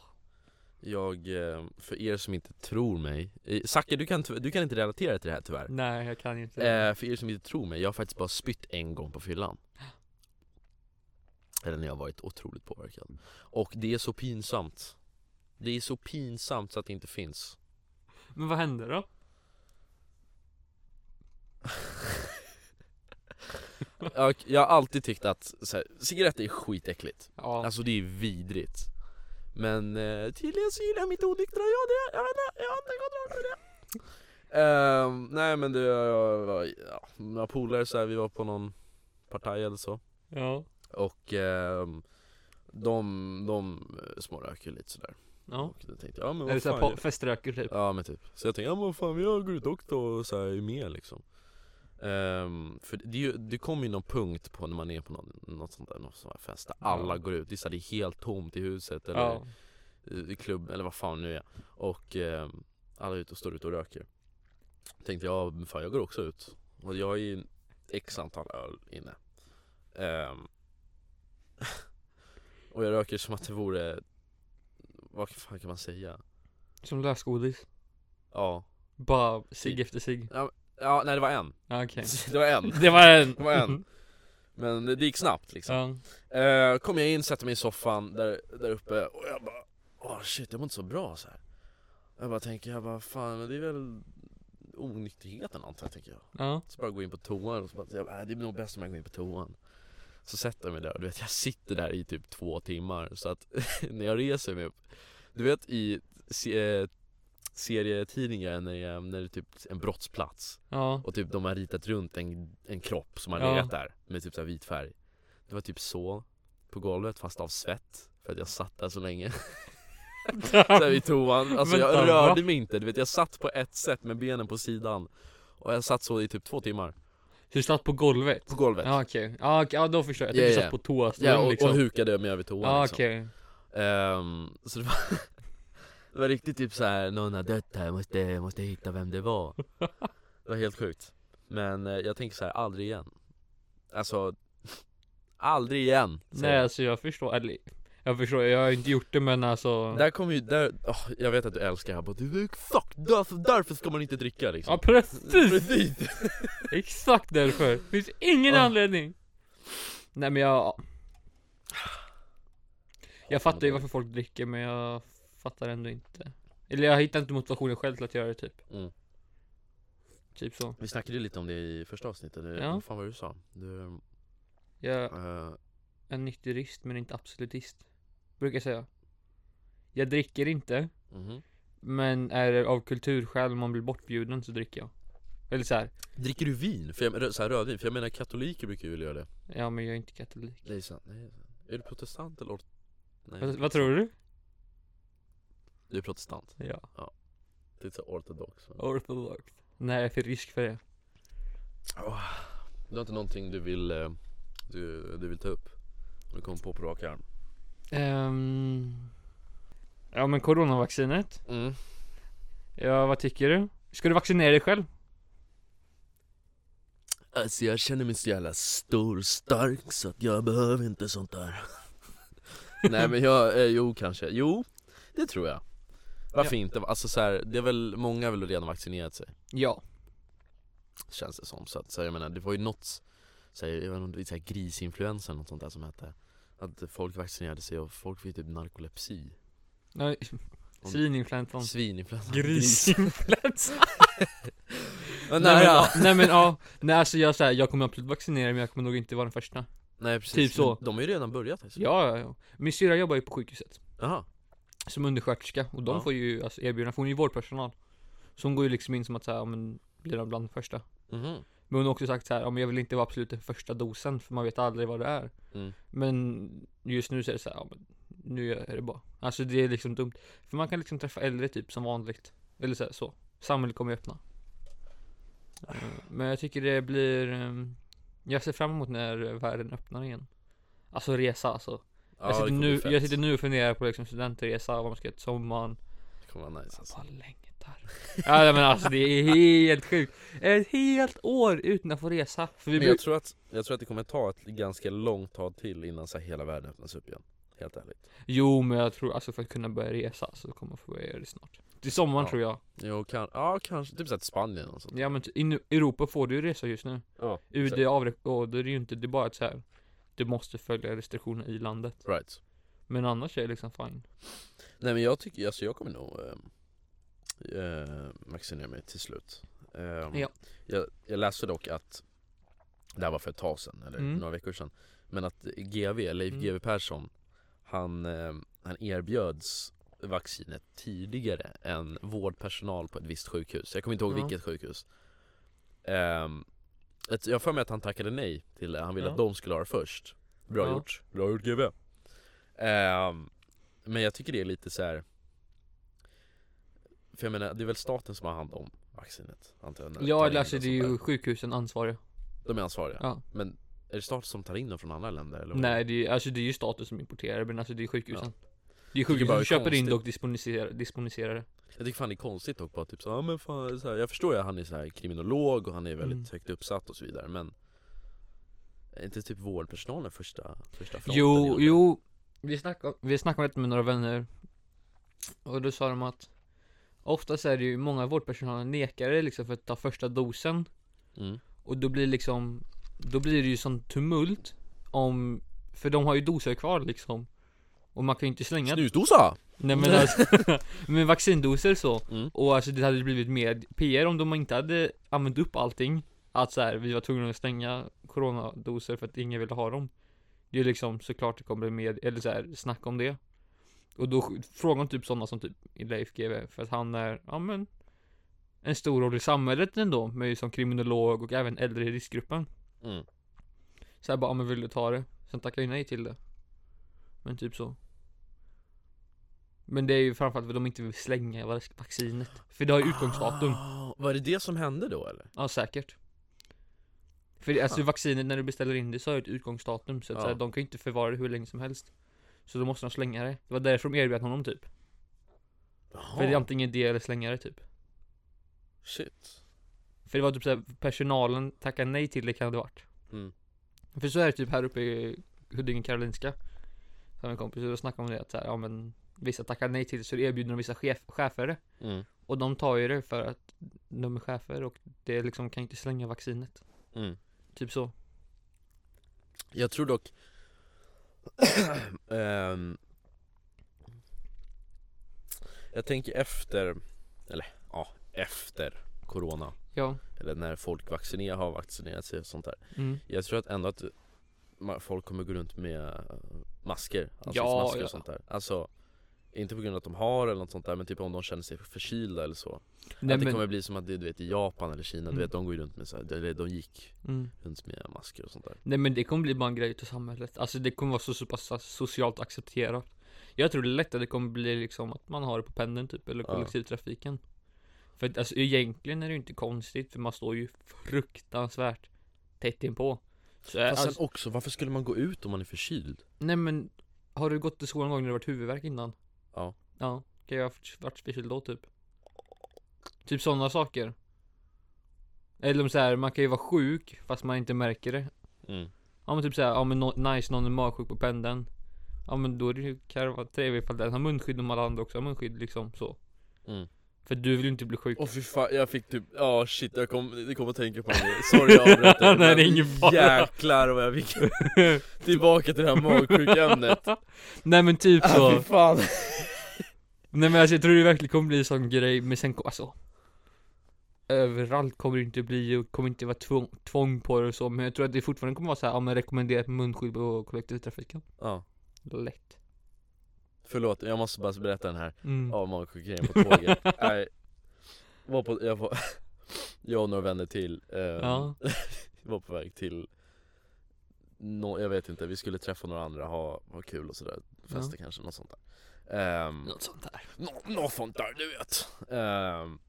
S1: Jag, eh, för er som inte tror mig eh, Zacke du kan, ty- du kan inte relatera till det här tyvärr
S2: Nej, jag kan inte
S1: eh, För er som inte tror mig, jag har faktiskt bara spytt en gång på fyllan Eller när jag har varit otroligt påverkad Och det är så pinsamt Det är så pinsamt så att det inte finns
S2: Men vad hände då?
S1: jag, jag har alltid tyckt att så här, cigaretter är skitäckligt
S2: Ja,
S1: Alltså det är vidrigt Men eh, tydligen så gillar mitt onyktra jag det, jag vet inte, jag har inte kontroll över det Ehm, Nej men det, jag var, ja, några polare så här, vi var på någon partaj eller så
S2: ja,
S1: Och ehm, de, de eh, småröker lite sådär
S2: ja
S1: Och då tänkte jag, ja men
S2: Eller
S1: vad fan
S2: såhär feströker typ
S1: Ja men typ, så jag tänkte ja men vad fan jag går ut också och så här, är med liksom Ehm, För det, är ju- det kommer ju någon punkt på när man är på någon, något sånt där, någon sån här fest där alla
S2: Ja.
S1: går ut, det är, så här, det är helt tomt i huset eller
S2: Ja,
S1: i klubb eller vad fan nu är Och ehm, alla är ute och står ute och röker Tänkte jag, men fan jag går också ut Och jag har ju x antal öl inne Ehm, Och jag röker som att det vore Vad fan kan man säga?
S2: som lösgodis
S1: Ja,
S2: Bara cigg efter cigg
S1: ja nej det var en
S2: Ja, okej
S1: Det var en
S2: Det var en!
S1: Det var en. Men det gick snabbt liksom
S2: Ja,
S1: Eh, kom jag in, satte mig i soffan där, där uppe och jag bara Åh shit, jag mår inte så bra så här. Jag bara tänker, jag bara fan men det är väl onykterheten antar jag tänker jag
S2: ja,
S1: Så bara gå in på toan och så bara, jag bara, "Äh, det är nog bäst om jag går in på toan Så sätter jag mig där och du vet jag sitter där i typ två timmar så att när jag reser mig upp Du vet i se- eh, serietidningar när, jag, när det är typ en brottsplats
S2: ja
S1: och typ de har ritat runt en, en kropp som har
S2: Ja.
S1: legat där med typ så här vit färg Det var typ så på golvet fast av svett för att jag satt där så länge så här vid toan, alltså
S2: Vänta,
S1: jag
S2: va?
S1: rörde mig inte, du vet jag satt på ett sätt med benen på sidan Och jag satt så i typ två timmar
S2: Så du satt på golvet?
S1: på golvet
S2: Ja okej, ja okej, ja då förstår jag, jag
S1: Ja,
S2: tänkte du
S1: ja.
S2: satt på toastol
S1: Ja, och,
S2: liksom
S1: och hukade mig över toan
S2: Ja
S1: liksom.
S2: okej,
S1: Ehm, Så det var, det var riktigt typ så här någon har dött här, jag måste, jag måste hitta vem det var Det var helt sjukt Men eh, jag tänker så här, aldrig igen Alltså Aldrig igen säger
S2: nej
S1: jag.
S2: alltså jag förstår, eller jag förstår, jag har inte gjort det men alltså
S1: Där kommer ju, där, åh, jag vet att du älskar Habbo, du exakt därför, därför ska man inte dricka liksom
S2: Ja precis!
S1: Precis!
S2: Exakt därför! Det finns ingen
S1: Ja.
S2: anledning! Nej men jag... Jag fattar ju varför folk dricker men jag fattar ändå inte Eller jag hittar inte motivationen själv till att göra det typ
S1: Mm.
S2: Typ så
S1: Vi snackade ju lite om det i första avsnittet, det,
S2: Ja.
S1: vad fan var det du sa? Du,
S2: Jag är
S1: eh,
S2: en nykterist men inte absolutist Brukar jag säga Jag dricker inte
S1: mhm.
S2: Men är det av kulturskäl man blir bortbjuden så dricker jag Eller så här.
S1: Dricker du vin? För jag, rö- så här rödvin? För jag menar katoliker brukar ju vilja göra det
S2: ja men jag är inte katolik
S1: Det är sant, nej, det är sant. Är du protestant eller? ort- Nej,
S2: vad, vad tror du?
S1: Du är protestant,
S2: Ja,
S1: det är så ortodox va?
S2: ortodox Nej jag är för risk för det
S1: Du har inte någonting du vill, eh, du, du vill ta upp? Du kom på på rak arm
S2: Ehm, ja men coronavaccinet.
S1: mm.
S2: Ja vad tycker du? Ska du vaccinera dig själv?
S1: Alltså jag känner mig så jävla stor stark så att jag behöver inte sånt där Nej men jag, eh, jo kanske, jo det tror jag Varför inte? Alltså så här, det är väl, många har väl redan vaccinerat sig?
S2: Ja.
S1: Känns det som, så att så jag menar det var ju något så här, jag vet inte, om det är så här grisinfluensa eller något sånt där som hette Att folk vaccinerade sig och folk fick typ narkolepsi
S2: Nej,
S1: Om-
S2: Svininfluensan
S1: Svininfluensa
S2: Grisinfluensan
S1: Men
S2: Nej men,
S1: nära.
S2: ja, nej men ja, nej alltså jag säger, jag kommer absolut vaccinera mig men jag kommer nog inte vara den första
S1: Nej precis,
S2: typ så.
S1: Men de har ju redan börjat alltså.
S2: Ja, ja, ja. Min syrra jobbar ju på sjukhuset
S1: Jaha,
S2: Som undersköterska och de
S1: Ja.
S2: får ju alltså, erbjudna, för hon är ju vårdpersonal Så hon går ju liksom in som att säga, ja men blir de bland de första
S1: mhm,
S2: Men hon har också sagt så här, ja men jag vill inte vara absolut den första dosen för man vet aldrig vad det är
S1: Mm.
S2: Men just nu så är det så här, ja men nu är det bara Alltså det är liksom dumt För man kan liksom träffa äldre typ som vanligt Eller så, här, så. Samhället kommer öppna Eh, Men jag tycker det blir ehm, Jag ser fram emot när världen öppnar igen Alltså resa alltså
S1: ja,
S2: jag, sitter
S1: det
S2: nu, jag sitter
S1: nu
S2: nu och funderar på liksom studentresa, vad man ska göra till sommaren
S1: Det kommer vara nice alltså.
S2: Vad länge tar Ja nej, men alltså det är helt sjukt Ett helt år utan att få resa För vi
S1: Men
S2: brukar
S1: jag tror, att, jag tror att det kommer ta ett ganska långt tag till innan så här, hela världen öppnas upp igen Helt ärligt
S2: Jo men jag tror alltså för att kunna börja resa så kommer jag få börja göra det snart Till sommaren
S1: Ja.
S2: tror jag
S1: Jo, kan, ja kanske, typ såhär till Spanien och sånt
S2: Ja men i Nu- Europa får du ju resa just nu
S1: Ja,
S2: UD
S1: exakt.
S2: avråder ju inte, det är bara att så här. Du måste följa restriktioner i landet
S1: right
S2: Men annars är det liksom fine
S1: Nej men jag tycker, alltså jag kommer nog eh, eh, vaccinera mig till slut Ehm,
S2: Ja.
S1: jag, jag läste dock att Det här var för ett tag sedan, eller
S2: Mm.
S1: några veckor sedan Men att GV, Leif
S2: Mm.
S1: GW Persson han, eh, han erbjöds vaccinet tidigare än vårdpersonal på ett visst sjukhus Jag kommer inte ihåg
S2: Ja.
S1: vilket sjukhus Ehm, ett- Jag har för mig att han tackade nej till det, han ville
S2: Ja.
S1: att de skulle ha det först Bra
S2: Ja.
S1: gjort, bra gjort GW Ehm, men jag tycker det är lite så här. För jag menar, det är väl staten som har hand om vaccinet? Antar jag, när tar
S2: Ja
S1: in
S2: eller alltså
S1: och
S2: det är ju
S1: sånt
S2: sjukhusen ansvariga
S1: där. De är ansvariga?
S2: Ja.
S1: Men är det staten som tar in dem från andra länder? Eller vad?
S2: Nej det är, ju- alltså det är ju staten som importerar men alltså det är sjukhusen Det är
S1: Tycker bara
S2: sjukhusen
S1: det är
S2: som köper in det och
S1: konstigt.
S2: disponiserar, disponiserar det
S1: Jag tycker fan det är konstigt dock bara typ så, ja, men fan, så här, Jag förstår ju att han är så här kriminolog och han är väldigt
S2: Mm.
S1: högt uppsatt och så vidare men Är inte typ vårdpersonalen första, första fronten?
S2: Jo,
S1: egentligen?
S2: jo vi snackade, vi snackade om detta med några vänner Och då sa de att Oftast är det ju många vårdpersonal nekar det liksom för att ta första dosen
S1: Mm.
S2: Och då blir liksom Då blir det ju sån tumult Om För de har ju doser kvar liksom Och man kan ju inte slänga
S1: Snusdosa!
S2: Nej men alltså, Men vaccindoser så
S1: Mm.
S2: Och alltså det hade blivit mer PR om de inte hade använt upp allting Att så här, vi var tvungna att stänga coronadoser för att ingen ville ha dem Det är liksom såklart det kommer med, eller så här, snack om det Och då sk- frågar de typ sådana som typ Leif GW för att han är, ja men En stor roll i samhället ändå, men ju som kriminolog och även äldre i riskgruppen
S1: Mm.
S2: Så här bara, ja men vill du ta det? Sen tackar jag nej till det Men typ så men det är ju framförallt för att de inte vill slänga vac- vaccinet För det har ju utgångsdatum
S1: Ah, var det det som hände då eller?
S2: Ja säkert För det- alltså vaccinet när du beställer in det så har ju ett utgångsdatum så att
S1: Ja.
S2: så här, de kan ju inte förvara det hur länge som helst Så då måste de slänga det Det var därför de erbjöd honom typ För det är
S1: Jaha,
S2: antingen det eller slänga det typ
S1: shit
S2: För det var typ såhär personalen tackade nej till det kan det ha varit
S1: Mm.
S2: För så är det typ här uppe i Huddinge Karolinska Så har en kompis och då snackade om det att så här, ja men Vissa tackar nej till det så erbjuder de vissa chef, chefer det
S1: mm.
S2: Och de tar ju det för att de är chefer och det liksom kan inte slänga vaccinet.
S1: Mm.
S2: Typ så.
S1: Jag tror dock ehm, Jag tänker efter, eller ja, efter Corona
S2: Ja.
S1: Eller när folk vaccinerar, har vaccinerat sig och sånt där
S2: Mm.
S1: Jag tror att ändå att ma- folk kommer gå runt med eh, masker,
S2: Ja,
S1: ansiktsmasker
S2: ja.
S1: och sånt där Alltså inte på grund av att de har eller något sånt där men typ om de känner sig förkylda eller så
S2: Nej,
S1: Att det
S2: men,
S1: kommer bli som att det du vet i Japan eller Kina,
S2: Mm.
S1: du vet de går ju runt med så här, eller de gick
S2: mm.
S1: runt med masker och sånt där
S2: Nej men det kommer bli bara en grej utav samhället. Alltså det kommer vara så, så pass alltså, socialt accepterat. Jag tror det är lättare det kommer bli liksom att man har det på pendeln typ, eller
S1: Ja.
S2: kollektivtrafiken. För att alltså egentligen är det ju inte konstigt, för man står ju fruktansvärt tätt inpå. Så,
S1: Fast
S2: alltså,
S1: sen också, varför skulle man gå ut om man är förkyld?
S2: Nej men, har du gått till skolan en gång när du varit huvudvärk innan?
S1: Ja.
S2: Ja, kan jag ha varit förkyld då typ? Typ sådana saker. Eller om så här, man kan ju vara sjuk fast man inte märker det.
S1: Mm.
S2: Ja men typ såhär, ja men no, nice någon är magsjuk på pendeln. Ja men då är det ju, kan det vara trevligt ifall den har munskydd om alla andra också har munskydd liksom så.
S1: Mm.
S2: För du vill ju inte bli sjuk.
S1: Åh fy fan, jag fick typ, ja shit jag kom, jag kom att tänka på det Sorry jag avbröt dig,
S2: Nej, det är
S1: men
S2: ingen fara.
S1: Jäklar vad jag fick Tillbaka till det här magsjukämnet
S2: Nej men typ
S1: Ah,
S2: så.
S1: fy fan
S2: Nej men alltså, jag tror det verkligen kommer bli en sån grej, men sen ko- alltså. Överallt kommer det inte bli och kommer inte vara tvång, tvång på det och så, men jag tror att det fortfarande kommer vara så här, ja men rekommenderat munskydd på kollektivtrafiken.
S1: Ja,
S2: Lätt.
S1: förlåt jag måste bara berätta den här
S2: Mm.
S1: Ja magsjukgrejen på tåget Nej, var på, jag var Jag och några vänner till eh,
S2: Ja.
S1: Var på väg till nå jag vet inte, vi skulle träffa några andra, ha, ha kul och sådär Festa kanske, något sånt där Ehm,
S2: Något sånt där.
S1: Nå, något sånt där, du vet. Ehm,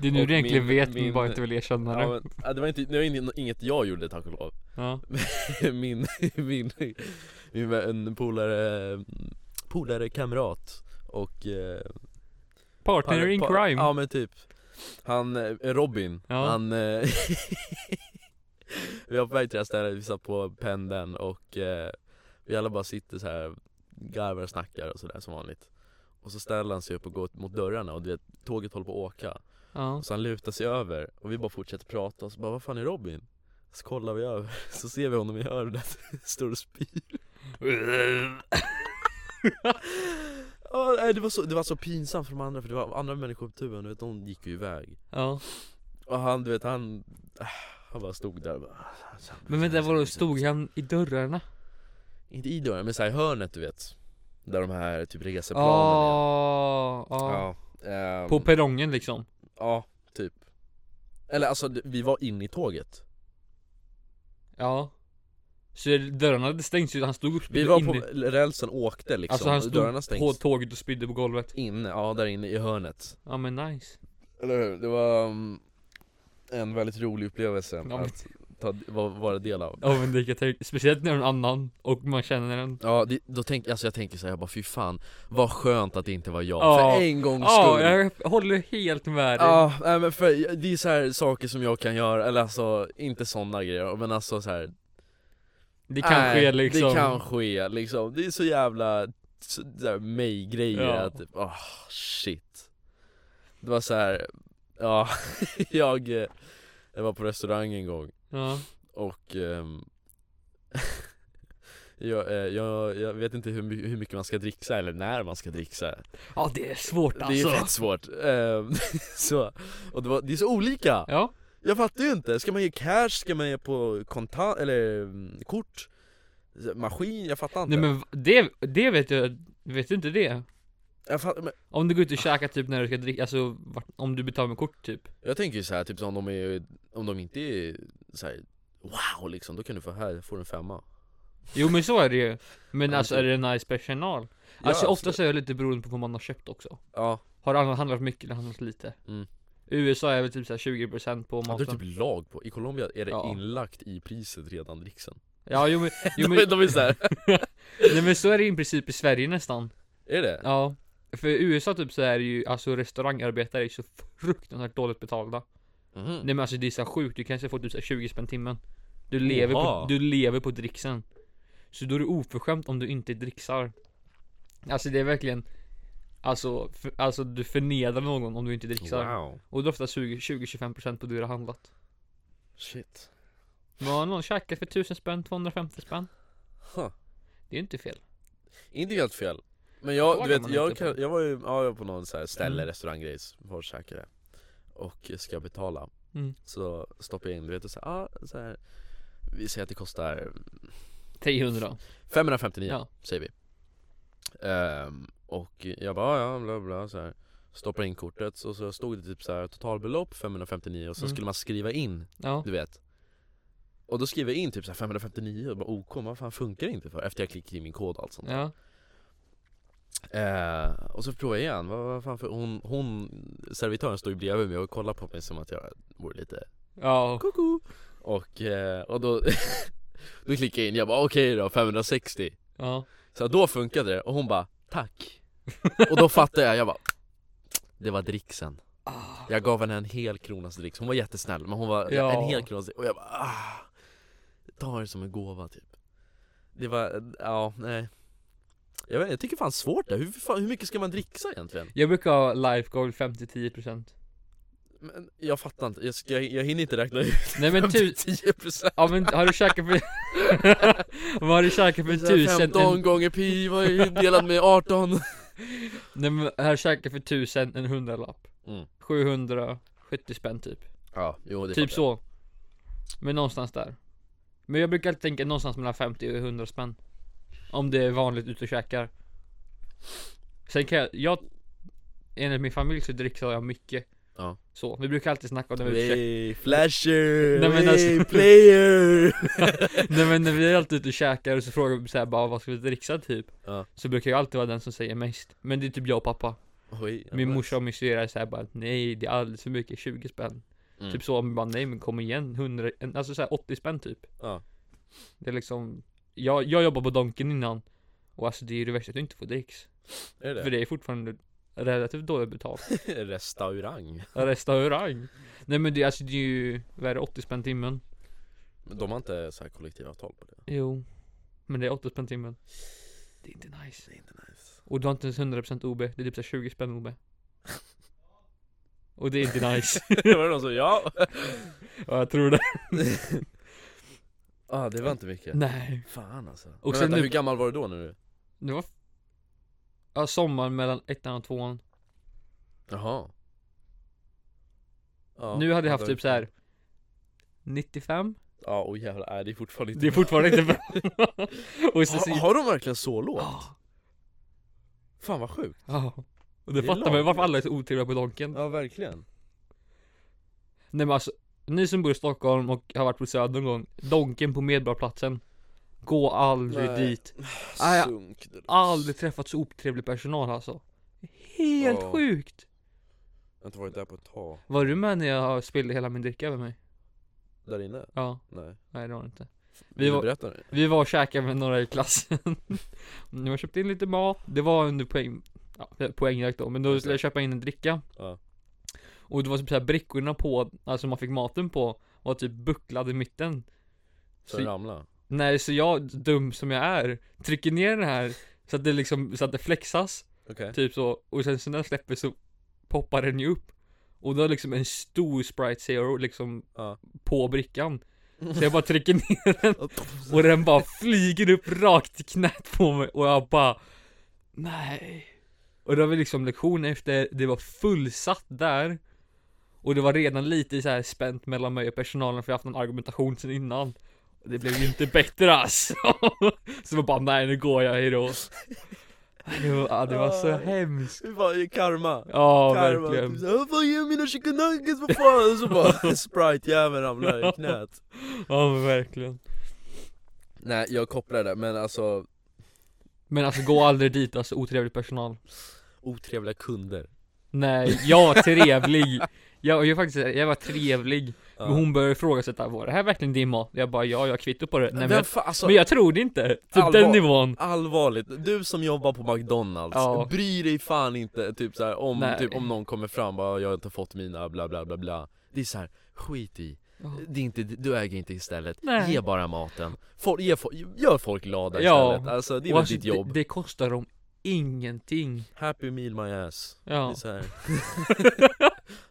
S2: Det är nu
S1: Och
S2: du egentligen
S1: min-
S2: vet, men
S1: min-
S2: bara inte vill erkänna det.
S1: ja, men, ja, det var inte, det var inte, inget jag gjorde tack och lov.
S2: Ja.
S1: Min, min, min en polare, polare, kamrat och... eh,
S2: Partner in
S1: pa-
S2: crime.
S1: Ja men typ. Han, eh, Robin,
S2: Ja.
S1: han... eh, vi var på väg till det här stället, vi satt på pendeln och eh, vi alla bara sitter så här garvar och snackar och sådär som vanligt. Och så ställer han sig upp och går mot dörrarna och du vet, tåget håller på att åka.
S2: ja.
S1: Och så han lutar sig över och vi bara fortsätter prata och så bara vad fan är Robin? Så kollar vi över, så ser vi honom i hörnet, står och spyr Ja, nej, det, var så, det var så pinsamt för de andra för det var andra människor på tuben, du vet de gick ju iväg
S2: ja.
S1: Och han du vet han, ah, han bara stod där och bara,
S2: Men vänta, vadå, stod han i dörrarna?
S1: Inte i dörren men såhär i hörnet du vet Där de här typ reseplanen är.
S2: Ja. ja.
S1: ja ehm,
S2: Ah, På perrongen liksom.
S1: Ja, typ Eller alltså det- vi var inne i tåget
S2: Ja. Så dörrarna hade stängts ju, han stod
S1: Vi
S2: uppspydda
S1: var
S2: inne.
S1: på, rälsen åkte liksom,
S2: alltså han
S1: och dörrarna
S2: stod
S1: stängs
S2: på tåget och spydde på golvet.
S1: Inne, ja där inne i hörnet
S2: Ja men nice.
S1: Eller hur? Det var um, en väldigt rolig upplevelse
S2: Ja, men,
S1: att ta, va, vara del av
S2: ja, men det kan jag tänka. Speciellt när det är någon annan och man känner den.
S1: Ja, det, då tänk, alltså jag tänker såhär, jag bara fy fan Vad skönt att det inte var jag,
S2: Ja.
S1: för en gångs
S2: Ja,
S1: skull
S2: jag håller helt med dig.
S1: Ja, nej men för det är så här saker som jag kan göra, eller alltså inte sådana grejer men alltså så här.
S2: det kan
S1: nej,
S2: ske liksom.
S1: Det kan ske liksom, det är så jävla så, så här, mig-grejer
S2: Ja.
S1: att, typ, ah shit Det var så här, ja, jag, eh, jag var på restaurang en gång
S2: Ja.
S1: och ehm, jag, eh, jag, jag vet inte hur, my- hur mycket man ska dricksa eller när man ska dricksa
S2: ja, det är svårt
S1: Det är ju
S2: alltså.
S1: rätt svårt Ehm, så, och det, var, det är så olika!
S2: Ja,
S1: Jag fattar ju inte, ska man ge cash, ska man ge på kontant, eller mm, kort? Maskin, jag fattar inte
S2: nej men det, det vet jag, vet du inte det?
S1: jag, fattar, men
S2: Om du går ut och käkar typ när du ska dricka, alltså vart- om du betalar med kort typ
S1: jag tänker ju så här, typ så om de, är, om de inte är så här, wow liksom, då kan du få här, får du en femma
S2: Jo men så är det ju Men
S1: Ja,
S2: alltså
S1: men
S2: är det nice personal? Alltså
S1: Ja,
S2: oftast är det lite beroende på vad man har köpt också
S1: Ja,
S2: Har du handlat mycket eller handlat lite?
S1: Mm.
S2: USA är väl typ såhär 20% på
S1: det är
S2: maten
S1: typ lag på, i Colombia är det
S2: Ja.
S1: inlagt i priset redan dricksen
S2: Ja jo men, jo, men,
S1: de, de är så här,
S2: nej, men så är det i princip i Sverige nästan
S1: är det?
S2: Ja För i USA typ så är det ju, alltså restaurangarbetare är så fruktansvärt dåligt betalda
S1: Mhm.
S2: Nej men alltså det är så här sjukt, du kanske får typ så här 20 spänn timmen Du lever, på,
S1: Oha.
S2: du lever på dricksen Så då är det oförskämt om du inte dricksar Alltså det är verkligen Alltså, för, alltså du förnedrar någon om du inte dricksar
S1: Wow,
S2: Och det är ofta 20-25% på det du har handlat
S1: shit
S2: Men har någon käkat för 1000 spänn, 250 spänn
S1: huh.
S2: Det är inte fel
S1: Inte helt fel Men jag,
S2: Frågar
S1: du vet,
S2: man
S1: jag,
S2: inte på.
S1: kan, jag var ju ja, jag var på någon så här ställe,
S2: Mm.
S1: restauranggrejs, var och käkade Och ska betala
S2: Mm.
S1: Så stoppar jag in, du vet och så här, ah, så här Vi säger att det kostar
S2: 300
S1: 559
S2: Ja.
S1: säger vi Ehm, Och jag bara "Ah, ja, bla bla så här Stoppar in kortet och så stod det typ så här totalbelopp 559 och så
S2: Mm.
S1: skulle man skriva in,
S2: Ja,
S1: du vet Och då skriver jag in typ så här 559 och bara OK, men vad fan funkar det inte för? Efter jag klickar in min kod och allt sånt där.
S2: ja,
S1: Eh, och så provar jag igen, vad, vad fan för hon, hon, servitören står ju bredvid mig och kollar på mig som att jag vore lite
S2: ja,
S1: koko Och, eh, och då, då klickar jag in, jag bara okej då, 560
S2: ja
S1: Så då funkade det och hon bara tack Och då fattade jag, jag bara det var dricksen
S2: ah,
S1: Jag gav henne en hel kronas dricks, hon var jättesnäll men hon var
S2: Ja.
S1: en hel kronas dricks och jag bara ah, Ta det som en gåva typ Det var, ja nej Jag, vet, jag tycker fan svårt det, hur, fan, hur mycket ska man dricksa egentligen?
S2: Jag brukar ha life goal 5-10%
S1: Men jag fattar inte, jag, ska, jag, jag hinner inte räkna ut
S2: Nej men tu...
S1: 10%
S2: Ja men har du käkat för... Vad har du käkat för
S1: Så här
S2: tusen?
S1: 15
S2: En...
S1: gånger pi var ju delat med 18
S2: Nej men har du käkat för tusen en hundralapp?
S1: Mm.
S2: 770 spänn typ
S1: Ja, jo det
S2: Typ
S1: fattar jag.
S2: så Men någonstans där Men jag brukar alltid tänka någonstans mellan 50 och 100 spänn Om det är vanligt ute och käkar Sen kan jag, jag Enligt min familj så dricker jag mycket
S1: Ja.
S2: Så, vi brukar alltid snacka om det när vi är ute och
S1: Hey, flasher,
S2: Nej, men
S1: hey,
S2: alltså-
S1: player!
S2: käkar Nej men när vi är alltid ute och käkar och så frågar vi så här bara vad ska vi dricksa typ
S1: Ja.
S2: Så brukar jag alltid vara den som säger mest Men det är typ jag och pappa
S1: Oj,
S2: Min
S1: ja,
S2: morsa och min syrra är såhär bara nej det är alldeles för mycket, 20 spänn
S1: Mm.
S2: Typ så, men bara nej men kom igen, 100, en- alltså såhär 80 spänn typ
S1: Ja.
S2: Det är liksom Jag, jag jobbade på Donken innan Och alltså det är ju det värsta att du inte får dricks
S1: Är
S2: För det är fortfarande relativt dåligt betalt
S1: det? Restaurang
S2: Restaurang Nej men det, alltså det är ju, vad är det, 80 spänn timmen?
S1: Men de har inte så här kollektivavtal på det
S2: Jo Men det är 80 spänn timmen Det är inte nice
S1: Det är inte nice
S2: Och du har inte ens 100% OB, det är typ såhär 20 spänn OB Och det är inte nice
S1: Var det någon som, ja?
S2: Ja jag tror det
S1: ah, det var inte mycket
S2: Nej
S1: Fan alltså Men
S2: Och sen
S1: vänta,
S2: nu-
S1: hur gammal var du då nu?
S2: Det var Ja, sommaren mellan ettan och tvåan
S1: Jaha Ja,
S2: Nu hade jag
S1: ja,
S2: haft
S1: då-
S2: typ så här 95
S1: Ja, åh jävlar, nej det är fortfarande inte
S2: Det är fortfarande inte bra Och sen så
S1: har,
S2: Ja
S1: har de verkligen så lågt? Fan vad sjukt
S2: Ja. Och
S1: Det
S2: det
S1: är
S2: fattar man ju varför
S1: lagligt.
S2: alla är så otrevliga på Donken
S1: Ja verkligen
S2: Nej men alltså Ni som bor i Stockholm och har varit på Söder någon gång Donken på Medborgarplatsen Gå aldrig
S1: Nej.
S2: dit Ah, ja.
S1: Sunk deluxe.
S2: Aldrig träffat så otrevlig personal alltså Helt
S1: Ja.
S2: sjukt!
S1: Jag har inte varit där på ett tag
S2: Var du med när jag spillde hela min dricka över mig?
S1: Där inne?
S2: Ja,
S1: Nej
S2: nej det var det inte
S1: Vill
S2: var-
S1: du berätta nu?
S2: Vi var och käkade med några i klassen Jag har köpt in lite mat, det var under poäng ja, Poängjakt då, men då skulle jag köpa in en dricka
S1: Ja.
S2: Och det var typ såhär brickorna på, alltså man fick maten på Var typ bucklad i mitten
S1: Så
S2: så,
S1: ramla?
S2: Nej så jag, dum som jag är Trycker ner den här Så att det liksom, så att det flexas
S1: Okej
S2: Typ så, och sen så när den släpper så Poppar den ju upp Och då är liksom en stor Sprite Zero liksom
S1: Ja.
S2: På brickan Så jag bara trycker ner och den bara flyger upp rakt i knät på mig och jag bara Nej Och då var vi liksom lektion efter, det var fullsatt där Och det var redan lite så här spänt mellan mig och personalen för jag har haft någon argumentation sen innan Och Det blev ju inte bättre alltså Så jag bara nej nu går jag, hejdå det var, ja, det var så
S1: Aj.
S2: hemskt
S1: Hur fan, det är karma
S2: Ja
S1: Karma,
S2: verkligen
S1: typ såhär, Vad är mina chicken nuggets, vad fan? Och så bara Sprite-jäveln ramlar i knät
S2: Ja men verkligen
S1: Nej jag kopplar det, men alltså
S2: Men alltså gå aldrig dit alltså, otrevlig personal
S1: Otrevliga kunder
S2: Nej, jag var trevlig Jag, jag faktiskt, jag var trevlig
S1: ja.
S2: Men hon började ifrågasätta, var det här verkligen din mat? Jag bara, ja jag har kvitto på det Nej, men,
S1: Vem
S2: jag,
S1: fan, alltså,
S2: men jag tror det inte, typ
S1: Allvar.
S2: den nivån
S1: Allvarligt, du som jobbar på McDonalds,
S2: Ja.
S1: bryr dig fan inte typ så här, om,
S2: Nej.
S1: typ, om någon kommer fram och bara 'Jag har inte fått mina bla bla bla bla' Det är så här, skit i, det är inte, du äger inte istället,
S2: Nej.
S1: ge bara maten Folk- ge, fo- gör folk glada
S2: Ja.
S1: istället, alltså det är
S2: Och
S1: väl
S2: alltså,
S1: ditt jobb
S2: Det, det kostar dem ingenting
S1: Happy meal my ass, det är
S2: Ja
S1: så här.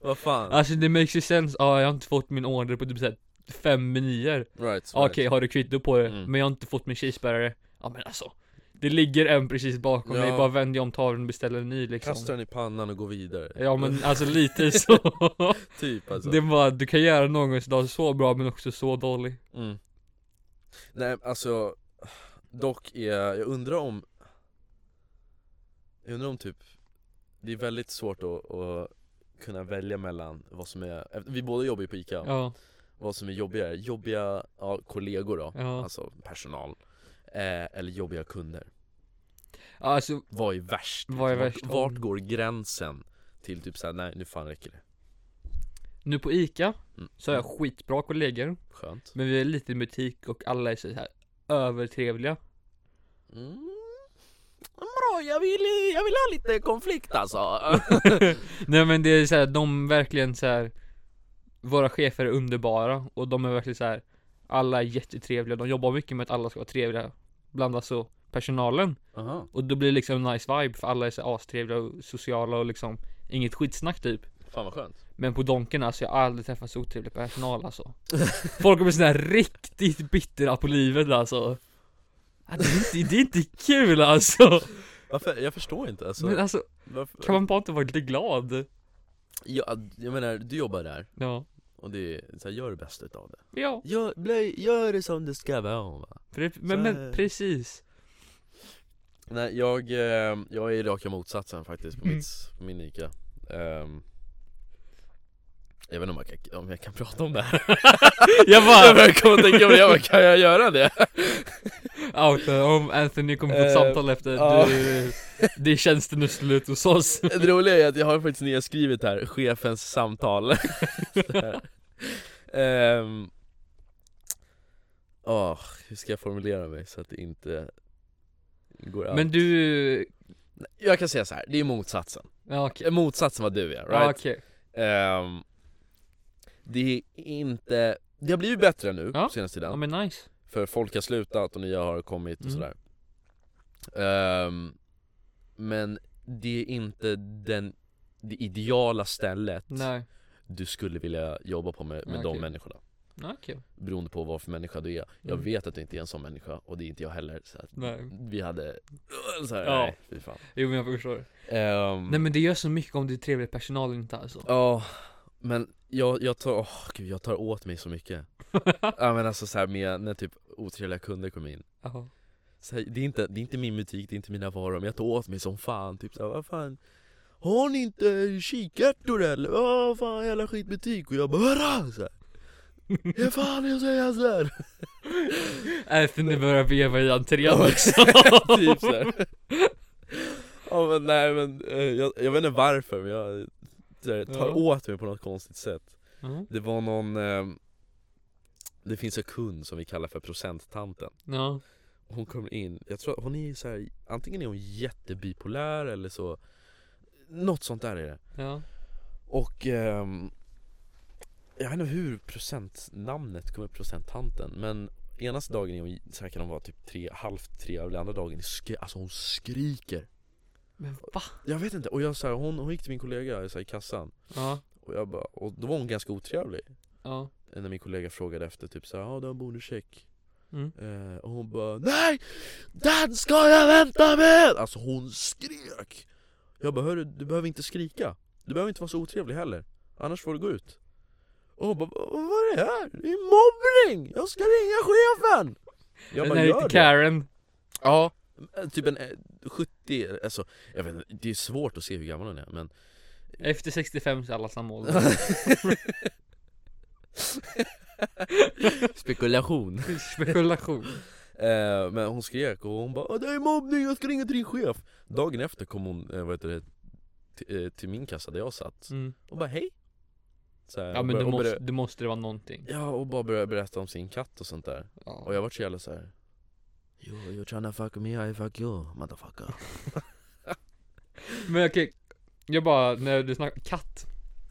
S1: Vad fan?
S2: Alltså det makes ju sense, ja jag har inte fått min order på typ såhär fem menyer
S1: Right,
S2: Okej, har du kvitto på det?
S1: Mm.
S2: Men jag har inte fått min cheeseburgare Ja men alltså Det ligger en precis bakom
S1: Ja.
S2: mig, bara vänder jag om tavlan och beställer en ny liksom
S1: Kasta den i pannan och gå vidare
S2: Ja men alltså lite så
S1: Typ alltså
S2: Det var, du kan göra någons dag så bra men också så dålig
S1: Mm. Nej alltså, dock är, jag undrar om Jag undrar om typ Det är väldigt svårt att, att kunna välja mellan vad som är, efter- vi båda jobbar ju på ICA,
S2: Ja,
S1: vad som är jobbigare, jobbiga ja, kollegor då,
S2: ja
S1: alltså personal eh, Eller jobbiga kunder,
S2: Alltså,
S1: vad är värst?
S2: Vad är värst?
S1: Vart, vart går gränsen till typ såhär, nej nu fan räcker det,
S2: nu på ICA
S1: Mm.
S2: så har jag skitbra kollegor
S1: skönt
S2: Men vi är en liten butik och alla är så här övertrevliga
S1: mm. Bra, jag vill, jag vill ha lite konflikt alltså
S2: Nej men det är så här, de verkligen så här. Våra chefer är underbara och de är verkligen så här. Alla är jättetrevliga, de jobbar mycket med att alla ska vara trevliga Bland annat så personalen.
S3: Aha.
S2: Och då blir det liksom en nice vibe för alla är så astrevliga och sociala och liksom Inget skitsnack typ
S1: Fan vad skönt
S2: Men på Donken alltså, jag har aldrig träffat så otrevlig personal alltså Folk blir sådana här riktigt bittra på livet alltså Ja, det, är inte, det är inte kul alltså!
S1: Varför? Jag förstår inte alltså,
S2: Men alltså,
S1: varför?
S2: kan man bara inte vara lite glad?
S1: Ja, jag menar, du jobbar där
S2: Ja,
S1: och det är så här, gör det bästa utav det
S2: ja,
S1: gör, bli, gör det som det ska vara va?
S2: pre-
S1: Så
S2: men, men
S1: är-
S2: precis
S1: Nej jag, eh, jag är raka motsatsen faktiskt på
S2: Mm.
S1: mitt, på min Ica Ehm, Jag vet inte om jag, kan, om jag kan prata om det här
S2: Jag bara-
S1: Jag börjar komma och tänka på det, jag bara, kan jag göra det?
S2: Out, eh, om Anthony kommer få ett
S1: Eh,
S2: samtal efter
S1: ja.
S2: du, Det är tjänsten är slut hos oss
S1: Det roliga är att jag har faktiskt nedskrivet här, chefens samtal um, Hur ska jag formulera mig så att det inte går
S2: Men
S1: out?
S2: du,
S1: Jag kan säga så här. det är motsatsen
S2: ja okej,
S1: Motsatsen vad du är,
S2: ja
S1: right?
S2: okej,
S1: Ehm, det är inte, det har blivit bättre nu
S2: Ja.
S1: på senaste tiden
S2: ja men nice
S1: För folk har slutat och nya har kommit och
S2: Mm.
S1: sådär Ehm, Men det är inte den, det ideala stället
S2: Nej,
S1: du skulle vilja jobba på med, med
S2: Ja,
S1: de
S2: okej.
S1: människorna
S2: ja okej,
S1: Beroende på vad för människa du är Jag
S2: Mm.
S1: vet att du inte är en sån människa och det är inte jag heller så att
S2: nej,
S1: Vi hade, så här,
S2: Ja.
S1: nej fy fan
S2: jo men jag förstår
S1: Ehm,
S2: Nej men det gör så mycket om det är trevlig personal eller inte alltså
S1: Ja, men jag, jag, tar, åh gud, jag tar åt mig så mycket Ja men alltså så här med när typ otrevliga kunder kommer in
S2: Jaha.
S1: så här, det, är inte, det är inte min butik, det är inte mina varor, men jag tar åt mig som fan typ så här, vad fan Har ni inte kikärtor eller? Vad fan jävla skitbutik och jag bara "Hurra!" så här. Hur fan jag säger såhär?
S2: Anthony börjar veva i entrén liksom. också
S1: typ såhär Ja men nej men eh, jag, jag vet inte varför men jag så här, tar
S2: Ja.
S1: åt mig på något konstigt sätt
S2: Ja,
S1: Det var någon eh, Det finns en kund som vi kallar för procenttanten
S2: Ja,
S1: Hon kommer in, jag tror hon är så här, Antingen är hon jättebipolär eller så Något sånt där är det
S2: ja,
S1: Och ehm, Jag vet inte hur procentnamnet kommer procenttanten men Ena dagen är hon, så här kan hon vara typ tre, halvt tre och den andra dagen är skri- alltså hon skriker
S2: men va?
S1: Jag vet inte, och jag så här, hon, hon gick till min kollega så här, i kassan
S2: Ja,
S1: Och jag bara, och då var hon ganska otrevlig
S2: ja,
S1: när min kollega frågade efter typ såhär, ja du har en bonuscheck?
S2: mm.
S1: Eh, och hon bara NEJ! DEN SKA JAG VÄNTA MED! Alltså hon skrek! Jag bara hörru, du behöver inte skrika Du behöver inte vara så otrevlig heller Annars får du gå ut Och hon bara "Vad- Vad är det här? Det är mobbning! Jag ska ringa chefen! Jag
S2: Den
S1: bara
S2: här
S1: gör
S2: lite
S1: det
S2: Karen
S1: Ja eh, Typ en eh, 70, alltså jag vet inte, det är svårt att se hur gammal hon är men
S2: Efter 65 så är alla samma ålder
S1: Spekulation
S2: Spekulation
S1: Eh, Men hon skrek och hon bara "Åh, Det är mobbning, jag ska ringa till din chef Dagen efter kom hon, eh, vad heter det till, eh, till min kassa där jag satt
S2: mm.
S1: och bara hej så här,
S2: Ja
S1: och
S2: men
S1: började-
S2: då
S1: och
S2: måste,
S1: började-
S2: då måste det vara någonting
S1: Ja och bara började berätta om sin katt och sånt där
S2: ja.
S1: Och jag vart så jävla såhär Yo you're tryna fuck me I fuck you motherfucker
S2: Men okej, jag bara, när du snackar katt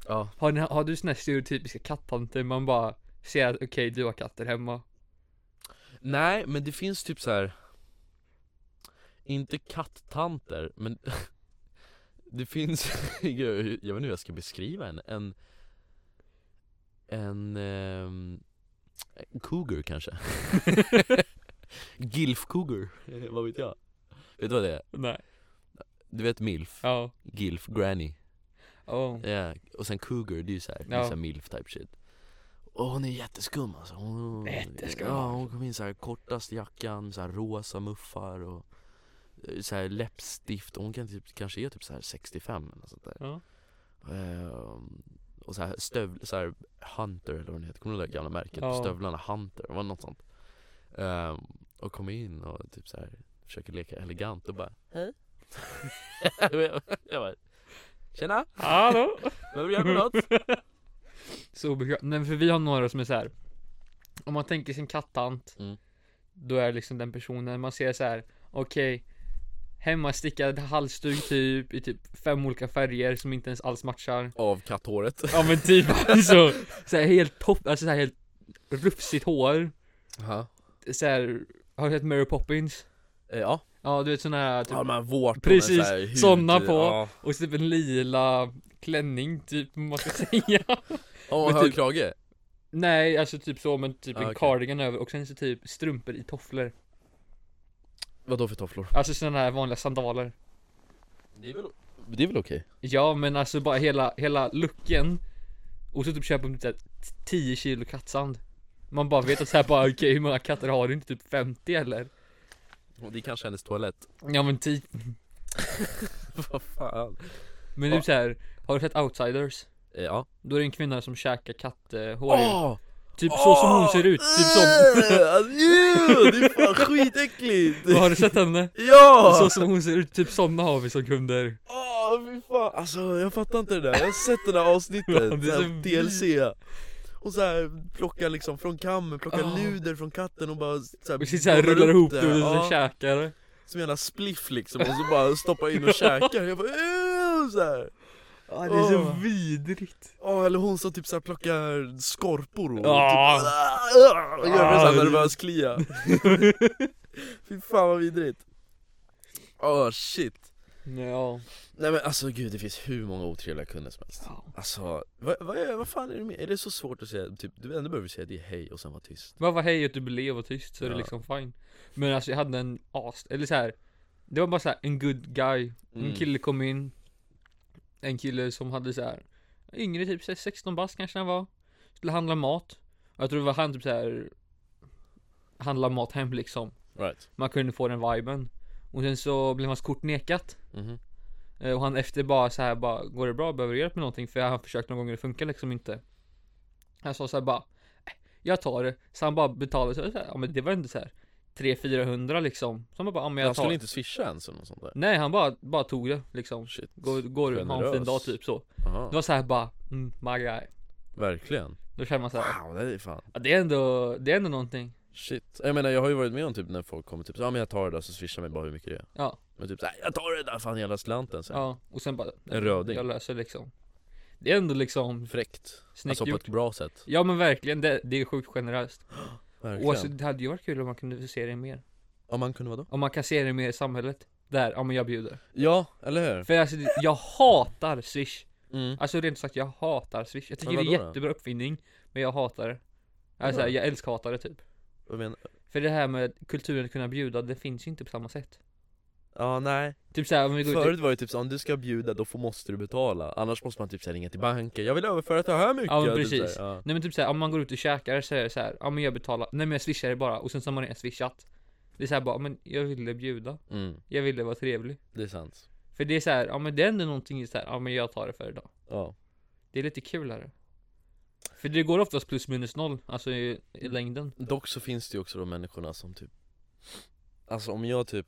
S1: Ja
S2: Har, ni, har du såna här stereotypiska kattanter man bara ser att okej du har katter hemma?
S1: Nej men det finns typ så här. Inte katttanter men Det finns, Gud, jag vet inte hur jag ska beskriva en En, en, ehm, en cougar kanske Gilf cougar, vad vet jag? Vet du vad det är?
S2: Nej
S1: Du vet milf?
S2: Ja,
S1: Gilf, granny
S2: oh.
S1: Ja, Eh, och sen Cougar, det är ju såhär, det är
S2: Ja.
S1: såhär milf type shit Och hon är jätteskum alltså hon,
S2: Jätteskum. alltså.
S1: Ja, hon kom in såhär kortaste jackan, såhär rosa muffar och eh, såhär läppstift, hon kan typ, kanske är typ såhär 65 eller något sånt där
S2: ja.
S1: Ehm, Och såhär stöv, såhär Hunter eller vad den heter, kommer du ihåg det där gamla märket?
S2: Ja.
S1: Stövlarna Hunter, det var något sånt Ehm, Och kom in och typ såhär försöker leka elegant och bara Hej Jag bara Tjena,
S2: Hallå!
S1: behöver du göra något?
S2: Så obekvämt, nej för vi har några som är så här. Om man tänker sin kattant
S1: Mm.
S2: Då är det liksom den personen, man ser så här. okej Hemmastickad halsduk typ i typ fem olika färger som inte ens alls matchar
S1: Av katthåret
S2: Ja men typ alltså, så här helt topp, alltså så här helt rufsigt hår
S1: Aha.
S2: så här, Har du sett Mary Poppins?
S1: Eh, Ja,
S2: Ja du vet sån här typ
S1: Ja de här vårtorna
S2: Precis,
S1: är så här hud-
S2: somna på.
S1: Ja,
S2: Och så typ en lila klänning typ, om man ska säga
S1: ja och
S2: Men
S1: hög
S2: typ-
S1: krage
S2: Nej, alltså typ så men typ
S1: Ah,
S2: en
S1: okej.
S2: cardigan över och sen så typ strumpor i tofflor
S1: Vadå för tofflor?
S2: Alltså sådana här vanliga sandaler
S1: Det är väl, det är väl okej?
S2: Ja men alltså bara hela, hela looken Och så typ köper man typ så här 10 kilo kattsand Man bara vet att såhär bara okej hur många katter har du? Inte typ 50 eller?
S1: Och Det är kanske hennes toalett
S2: Ja men typ
S1: Vad fan
S2: Men
S1: Ja.
S2: typ såhär Har du sett outsiders?
S1: Eh, Ja
S2: Då är det en kvinna som käkar katthår ju.
S1: Åh!
S2: Typ så som hon ser ut, typ som
S1: Eh, alltså, ew, Det är fan skitäckligt!
S2: Har du sett henne?
S1: Ja!
S2: Så som hon ser ut, typ sådana har vi som kunder
S1: Åh fy fan, alltså jag fattar inte det där, jag har sett det där avsnittet,
S2: Ja, det är
S1: det
S2: så
S1: DLC Och så här plocka liksom från kammen, plocka
S2: Ja.
S1: luder från katten och bara så här,
S2: Och sitter såhär
S1: bollar
S2: rullar
S1: upp
S2: ihop det och
S1: ja,
S2: så käkar det.
S1: Som en jävla spliff liksom, och så bara stoppa in och käkar, jag bara "Ew", så här.
S2: Ja
S1: det är så
S2: vidrigt
S1: Åh, eller hon som typ så här plockar skorpor och
S2: Ja.
S1: typ, "Ah, ah", och gör det
S2: Ja,
S1: såhär
S2: det-
S1: nervös klia Fy fan vad vidrigt Åh shit
S2: Ja
S1: Nej men alltså gud det finns hur många otrevliga kunder som helst Alltså, vad, vad, är, vad fan är det med? Är det så svårt att säga, typ, du ändå behöver säga det är hej och sen vara tyst?
S2: Bara var hej och du blev och tyst så är det
S1: Ja.
S2: liksom fine Men alltså jag hade en as, eller så här. Det var bara så här en good guy En
S1: Mm.
S2: kille kom in En kille som hade så här Yngre typ så här 16 bast kanske han var Skulle handla mat Och Jag tror det var han typ så här Handla mat hem liksom
S1: Right.
S2: Man kunde få den viben Och sen så blev hans kort nekat
S1: Mhm.
S2: Eh, Och han efter bara så här bara Går det bra? Behöver du hjälp med någonting? För jag har försökt någon gång och det funkar liksom inte Han sa så här bara "Äh, Jag tar det Så han bara betalade så här, så här, ja, men det var inte så här 300-400 liksom Så han bara ja, men
S1: Han
S2: jag tar
S1: skulle
S2: det.
S1: inte swisha ens eller något sånt där?
S2: Nej han bara, bara tog det liksom
S1: Shit.
S2: Går, går du, ha en fin
S1: Generös.
S2: dag typ så
S1: Aha.
S2: Det var så här bara mm, my guy
S1: Verkligen.
S2: Då känner man så här
S1: Wow, det är fan.
S2: ja, det är ändå, det är ändå någonting
S1: Shit. Jag menar jag har ju varit med om typ när folk kommer typ så, ja men jag tar det där så swishar mig bara hur mycket det är.
S2: Ja.
S1: Men typ såhär, jag tar det där fan hela slanten så.
S2: Ja och sen bara
S1: En röding.
S2: Jag löser liksom Det är ändå liksom
S1: Fräckt.
S2: snyggt
S1: alltså på
S2: gjort
S1: ett bra sätt.
S2: Ja men verkligen, det, det är sjukt generöst
S1: Verkligen.
S2: Och alltså, det hade ju varit kul om man kunde se det mer.
S1: Om man kunde vadå?
S2: Om man kan se det mer i samhället. Där, ja men jag bjuder.
S1: Ja, eller hur?
S2: För alltså, det- jag hatar swish.
S1: Mm.
S2: Alltså rent sagt, jag hatar swish. Jag tycker
S1: Men
S2: det är
S1: vadå då?
S2: jättebra uppfinning, men jag hatar det. Alltså,
S1: Ja.
S2: jag älskar hatar det typ.
S1: Vad menar
S2: För det här med kulturen att kunna bjuda, det finns ju inte på samma sätt.
S1: Ja nej.
S2: Typ såhär om vi går ut
S1: Förut var det typ så om du ska bjuda då får, måste du betala. Annars måste man typ såhär ringa till banken, jag vill överföra så här mycket.
S2: Ja, men
S1: Typ så här,
S2: precis.
S1: ja.
S2: Nej men typ såhär, om man går ut och käkar så är det såhär, ja men jag betalar, nej men jag swishar det bara och sen så har man redan swishat. Det är såhär bara, men jag ville bjuda,
S1: Mm,
S2: jag ville vara trevlig.
S1: det är sant.
S2: För det är såhär, ja men det är ändå någonting såhär, ja men jag tar det för idag.
S1: Ja.
S2: Det är lite kulare För det går oftast plus minus noll, alltså i, i längden
S1: Dock så finns det ju också de människorna som typ Alltså om jag typ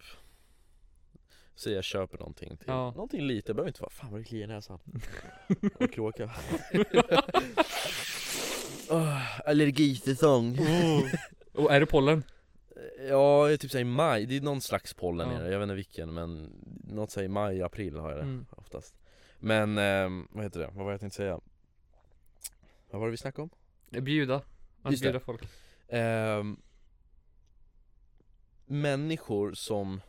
S1: Säger jag köper någonting till,
S2: Ja.
S1: någonting lite, det behöver inte vara fan vad det kliar i näsan Och kråka oh, Allergisäsong
S2: Och är det pollen?
S1: Ja, jag är typ säger i maj, det är någon slags pollen
S2: Ja.
S1: i det, jag vet inte vilken men Något säger maj, april har jag det
S2: Mm.
S1: oftast Men, ehm, vad heter det, vad var det jag tänkte säga? Vad var det vi snackade om?
S2: Bjuda Att
S1: Just det.
S2: bjuda folk
S1: Ehm, människor som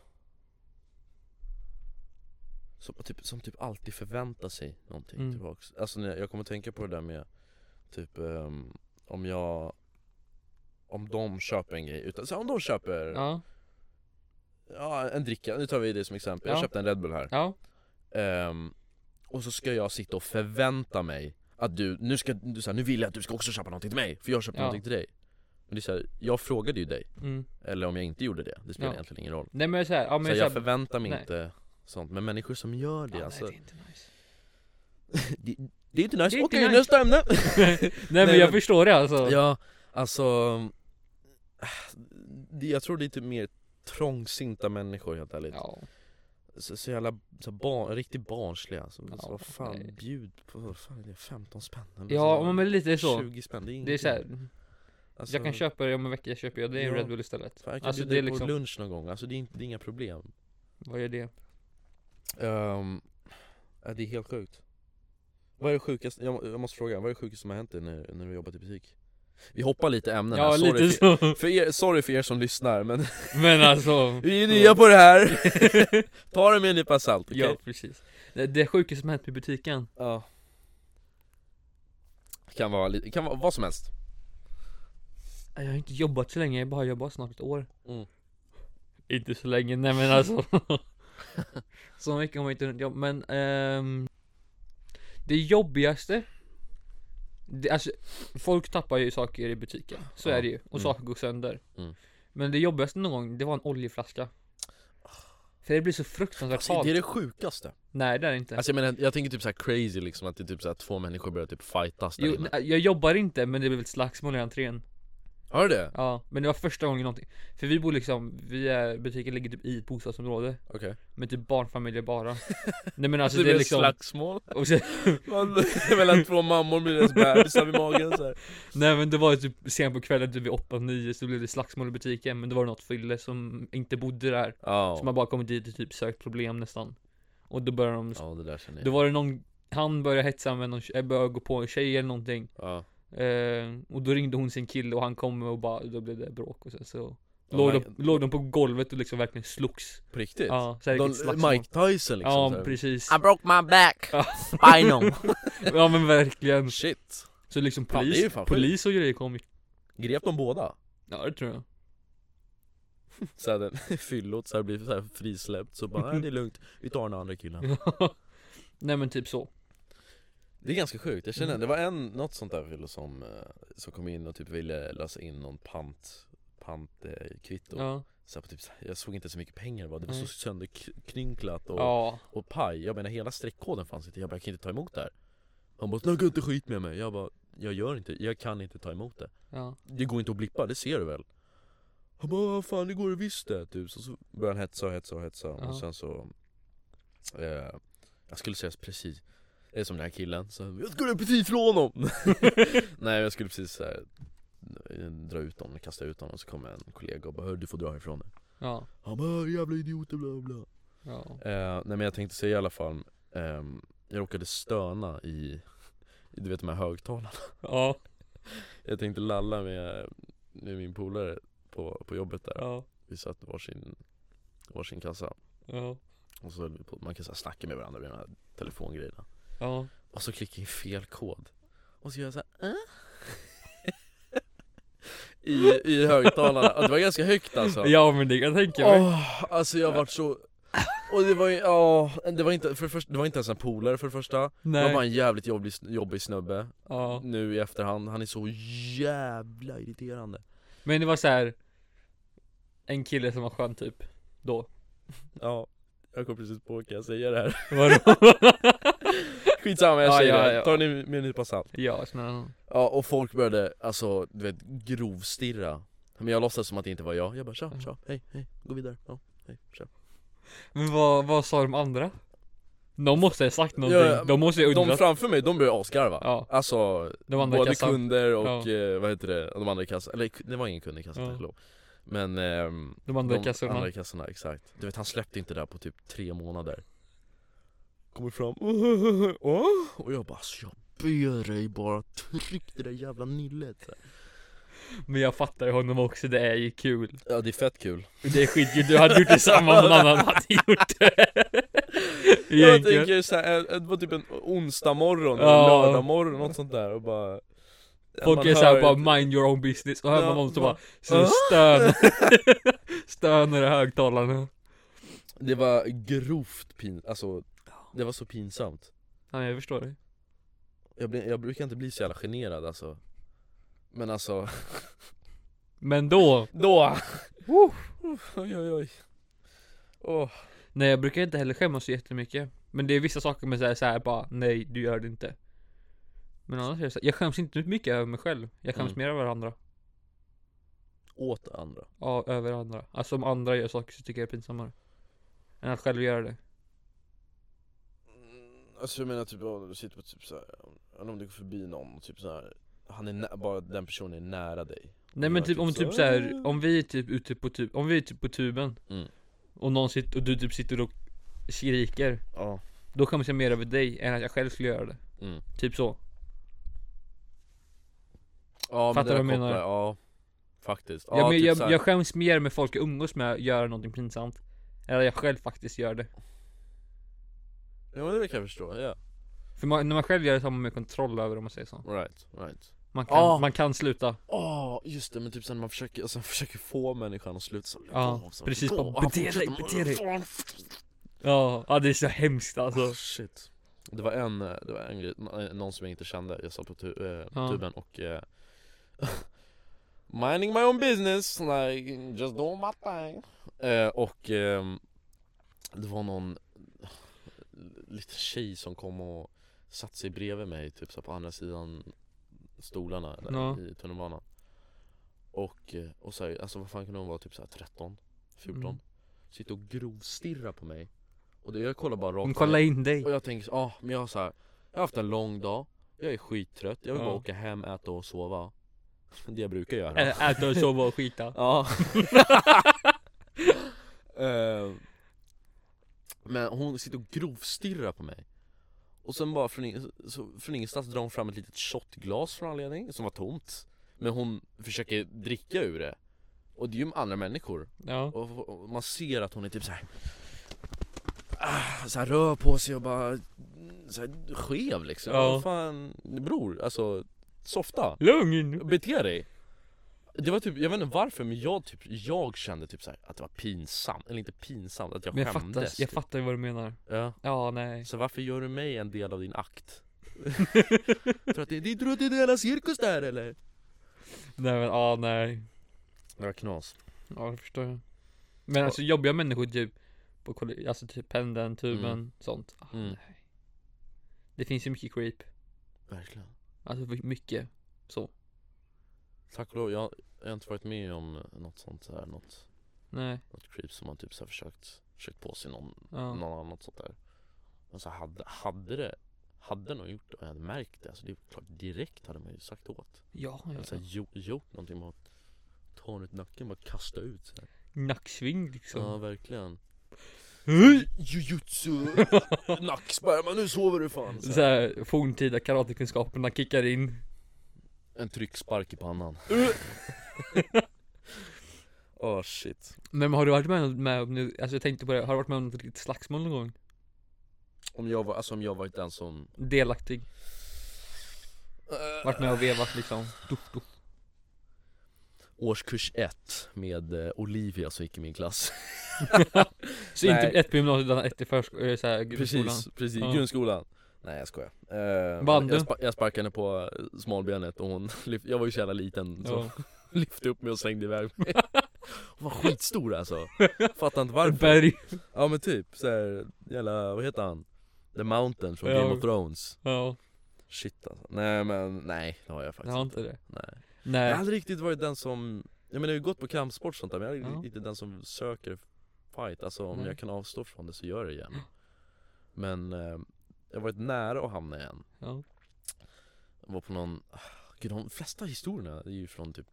S1: som typ, som typ alltid förväntar sig någonting
S2: Mm.
S1: tillbaks Alltså när jag, jag kommer att tänka på det där med typ ehm, om jag om de köper en grej, utan, så här, om de köper ja.
S2: Ja,
S1: en dricka, nu tar vi det som exempel,
S2: Ja.
S1: jag köpte en Red Bull här
S2: ja,
S1: Ehm, och så ska jag sitta och förvänta mig att du, nu ska du så här, nu vill jag att du ska också köpa någonting till mig, för jag köpte
S2: Ja.
S1: någonting till dig Men det är så här, jag frågade ju dig,
S2: mm.
S1: eller om jag inte gjorde det, det spelar
S2: Ja.
S1: egentligen ingen roll
S2: Nej men såhär, ja
S1: så
S2: men
S1: jag,
S2: såhär
S1: förväntar mig
S2: nej.
S1: inte sånt, men människor som gör det
S2: Ja,
S1: alltså
S2: nej, det är inte nice.
S1: det, det är inte nice,
S2: Det är inte
S1: okej
S2: nice.
S1: nästa ämne!
S2: Nej men
S1: Nej,
S2: jag
S1: men-
S2: förstår det alltså
S1: ja, alltså äh, det- Jag tror det är typ mer trångsinta människor helt ärligt
S2: Ja,
S1: så, så jävla, så barn, riktigt barnsliga alltså,
S2: Ja,
S1: så, vad fan,
S2: nej.
S1: bjud på, vad fan är det, 15 spänn? eller så
S2: ja
S1: här.
S2: men lite så
S1: 20 spänn, det är
S2: Det är
S1: ingenting.
S2: såhär,
S1: Alltså,
S2: jag kan köpa det om en vecka, köper jag det i
S1: Ja.
S2: Red Bull istället
S1: Fan, jag kan
S2: Alltså
S1: bjuda
S2: det är
S1: dig på
S2: liksom,
S1: lunch någon gång, alltså det är, inte, det är inga problem
S2: vad är det?
S1: Ehm, ja, Det är helt sjukt Vad är det sjukaste, jag, må- jag måste fråga, vad är det sjukaste som har hänt dig när, när du har jobbat i butik? Vi hoppar lite ämnen
S2: Ja
S1: här, sorry
S2: lite
S1: för,
S2: så,
S1: för er, sorry för er som lyssnar men
S2: men alltså
S1: vi är nya på det här! Ta det med en nypa salt, okej?
S2: Ja precis Det, det sjukaste som hänt med butiken
S1: Ja. Kan vara, li- kan vara vad som helst
S2: Jag har inte jobbat så länge, jag har bara jobbat snart ett år
S1: Mm.
S2: Inte så länge, nej men alltså Så mycket har man inte hunnit jobba, men ehm, Det jobbigaste det, alltså, Folk tappar ju saker i butiken, så
S1: Ja.
S2: är det ju, och
S1: Mm.
S2: saker går sönder
S1: Mm.
S2: Men det jobbigaste någon gång, det var en oljeflaska För det blir så fruktansvärt
S1: alltså,
S2: halt
S1: Det är det sjukaste
S2: Nej det är det inte
S1: Alltså jag menar, jag tänker typ så här crazy liksom att det är typ så här två människor börjar typ fightas där
S2: jo,
S1: inne.
S2: nej, Jag jobbar inte, men det blev ett slagsmål i entrén
S1: Har du det?
S2: Ja, men det var första gången någonting För vi bor liksom, vi är, butiken ligger typ i ett bostadsområde
S1: Okej
S2: Med typ barnfamiljer bara Nej men alltså
S1: det
S2: det är
S1: blir
S2: liksom
S1: slagsmål
S2: och sen,
S1: Man- Mellan två mammor med deras bebisar vid magen så här.
S2: Nej men det var typ sen på kvällen typ vid 8-9 så blev det slagsmål i butiken Men det var något fylle som inte bodde där
S1: Ja,
S2: Som har bara kommit dit och typ sökt problem nästan Och då började de,
S1: ja det där känner
S2: då
S1: jag
S2: var det någon han började hetsa med någon, tje- äh, började gå på en tjej eller någonting
S1: ja.
S2: eh, Och då ringde hon sin kille och han kom och bara, då blev det bråk och sen så
S1: my
S2: Låg, de,
S1: God.
S2: låg de på golvet och liksom verkligen slogs
S1: På riktigt?
S2: Ja, så här riktigt
S1: De,
S2: slagsmål
S1: Mike Tyson liksom så
S2: Ja
S1: här.
S2: precis
S1: I broke my back,
S2: Ja.
S1: spinal
S2: Ja men verkligen
S1: Shit
S2: Så liksom
S1: Fan, det är ju
S2: polis,
S1: fan sjukt.
S2: polis och grejer kom ju
S1: Grep de båda?
S2: Ja det tror jag
S1: Så här, den fyllot så här, blir så här frisläppt så bara nej det är lugnt, vi tar den andra killen
S2: Nej men typ så
S1: Det är ganska sjukt, jag känner det var en, något sånt där fyllo som, eh, som kom in och typ ville lösa in någon pant pantkvitto eh, kvitto.
S2: Ja,
S1: så här, på typ, så här- Jag såg inte så mycket pengar det var, det var så
S2: Nej.
S1: sönderknynklat och,
S2: ja.
S1: och paj Jag menar hela streckkoden fanns inte, jag bara jag kan inte ta emot det här Han bara 'Snacka inte skit med mig' Jag bara 'Jag gör inte, jag kan inte ta emot det'
S2: ja.
S1: Det går inte att blippa, det ser du väl? Han bara vad fan det går visst det typ Så, så började han hetsa och hetsa och hetsa
S2: Ja.
S1: och sen så eh, Jag skulle säga precis Det är som den här killen, så, jag skulle precis slå honom! Nej jag skulle precis så här, dra ut honom, kasta ut honom och så kom en kollega och bara "Hör, du får dra härifrån nu
S2: ja,
S1: Han bara jävla idioter bla bla
S2: ja,
S1: Eh, nej men jag tänkte säga i alla fall ehm, Jag råkade stöna i Du vet de här högtalarna
S2: ja,
S1: Jag tänkte lalla med, med min polare på, på jobbet där
S2: ja,
S1: Vi satt varsin, varsin kassa
S2: ja,
S1: Och så höll vi på, man kan så här snacka med varandra med de här telefongrejerna
S2: ja.
S1: Och så klickade jag in fel kod Och så gör jag så här, "Äh?" I, I högtalarna, och det var ganska högt alltså
S2: Ja men det kan jag tänka mig
S1: Åh, alltså jag vart så och det var ju, ja, det var inte, för det, första, det var inte ens en polare för det första Det var
S2: Nej,
S1: bara en jävligt jobbig, jobbig snubbe
S2: ja.
S1: Nu i efterhand, han är så jävla irriterande
S2: Men det var så här. En kille som var skön typ Då
S1: Ja, jag kom precis på, kan jag säga det här?
S2: Vadå?
S1: Skitsamma jag
S2: Ja,
S1: säger
S2: ja,
S1: det,
S2: ja.
S1: ta det med en nypa salt
S2: Ja snälla
S1: Ja och folk började, alltså du vet, grovstirra Men jag låtsades som att det inte var jag, jag bara
S2: Mm.
S1: tja, tja, hej, hej, gå vidare, ja, hej, tja
S2: Men vad, vad sa de andra? De måste ha sagt någonting,
S1: Ja,
S2: de måste ha
S1: De
S2: undrat
S1: framför mig, de började asgarva
S2: Ja,
S1: Alltså,
S2: de andra i
S1: både
S2: kassan
S1: kunder och
S2: Ja.
S1: eh, vad heter det, de andra i kassan, eller det var ingen kund i kassan
S2: Ja.
S1: tack och lov Men ehm,
S2: De andra i
S1: de
S2: kassorna
S1: andra i kassorna, exakt Du vet han släppte inte det där på typ tre månader Kommer fram "Åh?" och jag bara alltså jag ber dig bara tryck det där jävla nillet
S2: Men jag fattar ju honom också, det är ju kul
S1: Ja det är fett kul
S2: Det är skitkul, du hade gjort detsamma om någon annan hade gjort det
S1: Jag
S2: Egentligen
S1: tänker såhär, det var typ en onsdag morgon,
S2: Ja.
S1: eller lördag morgon, något sånt där och bara eh,
S2: Folk
S1: man
S2: är såhär
S1: hör-
S2: bara mind your own business och hör
S1: Ja,
S2: man någon som
S1: bara,
S2: bara så stön Stönar i högtalarna
S1: Det var grovt pinsamt, alltså det var så pinsamt
S2: Ja jag förstår dig
S1: jag, blir- jag brukar inte bli så jävla generad alltså Men alltså,
S2: Men då,
S1: då! oj oj oj Åh.
S2: nej jag brukar inte heller skämmas så jättemycket Men det är vissa saker med såhär, såhär bara nej du gör det inte Men annars är det så här, jag skäms inte mycket över mig själv Jag skäms
S1: Mm.
S2: mer över andra
S1: Åt andra
S2: Ja, över andra Alltså om andra gör saker så tycker jag det är pinsammare Än att själv göra det
S1: Mm, Alltså jag menar typ om du sitter på typ såhär, om du går förbi någon och typ såhär Han är nä- bara den personen är nära dig
S2: Nej
S1: Och
S2: men
S1: gör
S2: typ om
S1: så
S2: typ
S1: här,
S2: så här, om vi är typ ute på tub, om vi är typ på tuben
S1: Mm.
S2: Och någon sitter, och du typ sitter och skriker
S1: Ja
S2: Då skäms jag Typ mer över dig än att jag själv skulle göra det
S1: mm.
S2: Typ så
S1: Ja,
S2: Fattar
S1: det
S2: du vad jag menar?
S1: kopplar- Ja, faktiskt. Ja,
S2: Jag, men,
S1: typ så
S2: jag,
S1: här.
S2: jag skäms mer med folk jag umgås med att göra någonting pinsamt Eller jag själv faktiskt gör det
S1: Ja, men det kan jag förstå. Ja,
S2: För man, när man själv gör det så har man mer kontroll över det om man säger så
S1: right, right.
S2: Man kan,
S1: Ja.
S2: man kan sluta
S1: Åh, just det, men typ sen när man försöker, alltså, försöker få människan att sluta Liksom. så
S2: Ja,
S1: så-
S2: precis,
S1: Åh,
S2: bara,
S1: han
S2: "Bete dig,
S1: fortsätter.
S2: bete Ja, ja det är så hemskt alltså
S1: Ah, Shit Det var en, eh, det var en grej, n- eh, någon som jag inte kände, jag satt på tu, eh,
S2: Ja.
S1: tuben och eh, Minding my own business, like just doing my thing eh, Och ehm, det var någon liten tjej som kom och satte sig bredvid mig typ så här på andra sidan stolarna eller
S2: Ja.
S1: i tunnelbanan Och, eh, och så här, alltså vad fan kunde hon vara, typ så här 13, 14
S2: Mm.
S1: Sitter och grovstirrar på mig och det, jag kollar bara rakt
S2: Hon
S1: ner.
S2: kollar in dig
S1: Och jag tänker, ja ah, men jag har så här, jag har haft en lång dag, jag är skittrött, jag vill
S2: Ja.
S1: bara åka hem, äta och sova Det jag brukar göra
S2: Ä- Äta och sova och skita
S1: Ja Eh, Men hon sitter och grovstirrar på mig Och sen bara från, in- så från ingenstans drar hon fram ett litet shotglas från anledning som var tomt Men hon försöker dricka ur det Och det är ju andra människor
S2: Ja
S1: och, och man ser att hon är typ så här. Ah, så här rör på sig och bara mm, så här, skev liksom.
S2: Ja.
S1: Vad Fan, bror, alltså softa.
S2: Lugn!
S1: Bete dig. Det var typ, jag vet inte varför men jag, typ, jag kände typ så här att det var pinsamt, eller inte pinsamt, att jag
S2: Men jag
S1: skämdes.
S2: fattar, jag
S1: typ.
S2: fattar vad du menar
S1: ja.
S2: Ja, nej
S1: Så varför gör du mig en del av din akt? För att det, det, tror att det är en jävla cirkus där eller?
S2: Nej men, ja nej
S1: Det var knas.
S2: Ja det förstår jag Men alltså jobbiga människor typ på koll- Alltså typ pendeln, tuben,
S1: Mm.
S2: sånt ah,
S1: Mm.
S2: nej. Det finns ju mycket creep
S1: Verkligen.
S2: Alltså vi- mycket så
S1: Tack och lov, jag, jag har inte varit med om något sånt här, något
S2: Nej,
S1: Något creep som man typ så här försökt, försökt på sig någon,
S2: ja
S1: någon annat sånt där Men så hade, hade det Hade någon gjort det och jag hade märkt det, alltså det är klart direkt hade man ju sagt åt
S2: Ja, ja,
S1: Eller så här,
S2: ja.
S1: gjort, gjort någonting med att ta den ut nacken och bara kasta ut så här.
S2: Nacksving
S1: Ja
S2: liksom
S1: verkligen
S2: ja.
S1: Jujutsu, nackspärma, nu sover du fan så här.
S2: Såhär forntida karatekunskaperna kickar in
S1: En tryckspark i pannan Åh Oh, shit
S2: Men har du varit med, om- med om nu, alltså jag tänkte på det, har du varit med om något riktigt slagsmål någon gång?
S1: Om jag var, alltså om jag varit den som
S2: Delaktig, varit med och vevat liksom Duff, duff.
S1: Årskurs ett med eh, Olivia som gick i min klass
S2: Så
S1: Nej.
S2: inte ett på gymnasiet utan ett i förskolan, såhär grundskolan
S1: Precis, precis,
S2: Ja.
S1: grundskolan Nej jag skojar eh,
S2: Vann
S1: jag,
S2: du?
S1: spa- jag sparkade henne på eh, smalbenet och hon, lyf- jag var ju så jävla liten så
S2: Ja.
S1: hon lyfte upp mig och slängde iväg mig Hon var skitstor alltså, fattar inte varför
S2: Berg
S1: Ja men typ såhär, jävla, vad heter han? The Mountain från
S2: Ja.
S1: Game of Thrones
S2: Ja,
S1: Shit alltså, nej men nej det har jag
S2: jag
S1: faktiskt
S2: har
S1: inte
S2: inte det
S1: Nej. Jag har
S2: Nej,
S1: aldrig riktigt varit den som, jag menar jag har ju gått på kampsport och sånt där men jag är
S2: Ja. Mm.
S1: aldrig inte den som söker fight, alltså om
S2: Nej.
S1: jag kan avstå från det så gör jag det gärna Men eh, jag har varit nära att hamna i en
S2: ja.
S1: Jag var på någon, ah, gud de flesta historierna är ju från typ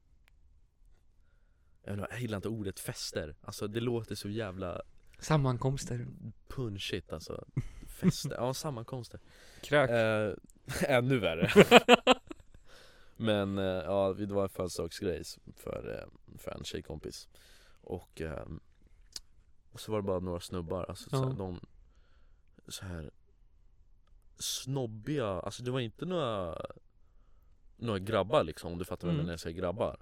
S1: jag, vet inte, jag gillar inte ordet fester, alltså det låter så jävla
S2: Sammankomster,
S1: punchigt alltså Fester, ja sammankomster
S2: krök
S1: eh, Ännu värre Men eh, ja, det var en födelsedagsgrej för, eh, för en tjejkompis Och eh, och så var det bara några snubbar, alltså
S2: Ja.
S1: så här, de så här Snobbiga, alltså det var inte några Några grabbar liksom om du fattar vad jag
S2: Mm.
S1: menar när jag säger grabbar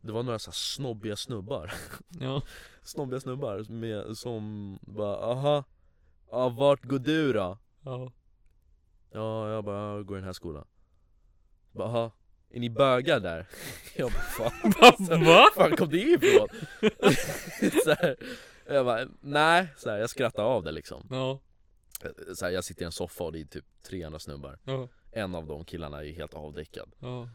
S1: Det var några så här snobbiga snubbar
S2: Ja,
S1: snobbiga snubbar med, som bara aha, ja, vart går du då?
S2: ja
S1: Ja, jag bara jag går i den här skolan. Bara, aha, är ni bögar där? Jag bara fan,
S2: Va?
S1: fan kom det ifrån? så här, jag bara nej, så här, jag skrattar av det liksom.
S2: Ja,
S1: Så här, jag sitter i en soffa och det är typ 300 snubbar.
S2: ja,
S1: En av de killarna är helt avdäckad.
S2: ja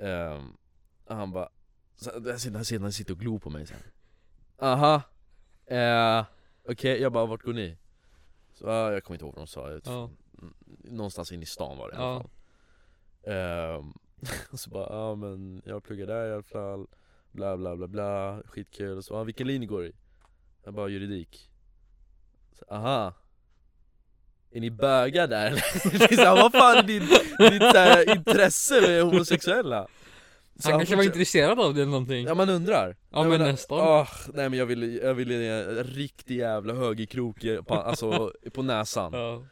S1: Ehm, och han bara, så- han sitter, han sitter, han sitter och glor på mig sen Aha, eh, okej, jag bara vart går ni? Så, ah, jag kommer inte ihåg vad de sa, jag vet,
S2: Ja.
S1: mm, någonstans inne i stan var det i
S2: Ja.
S1: alla fall Ehm, Och så bara, ja ah, men jag pluggar där i alla fall, bla bla bla bla, skitkul och så, ah, vilken linje går du i? Jag bara juridik så, Aha är ni bögar Liksom, där eller? Det är så här, Vad fan är din, ditt så här, intresse med homosexuella? Så
S2: Han kanske var
S1: fortsätter-
S2: intresserad av det eller någonting
S1: Ja man undrar
S2: Ja,
S1: Jag
S2: men
S1: menar,
S2: nästan.
S1: ah, nej men jag ville, jag ville ge en riktig jävla högerkrok i- på, alltså, på näsan
S2: Ja,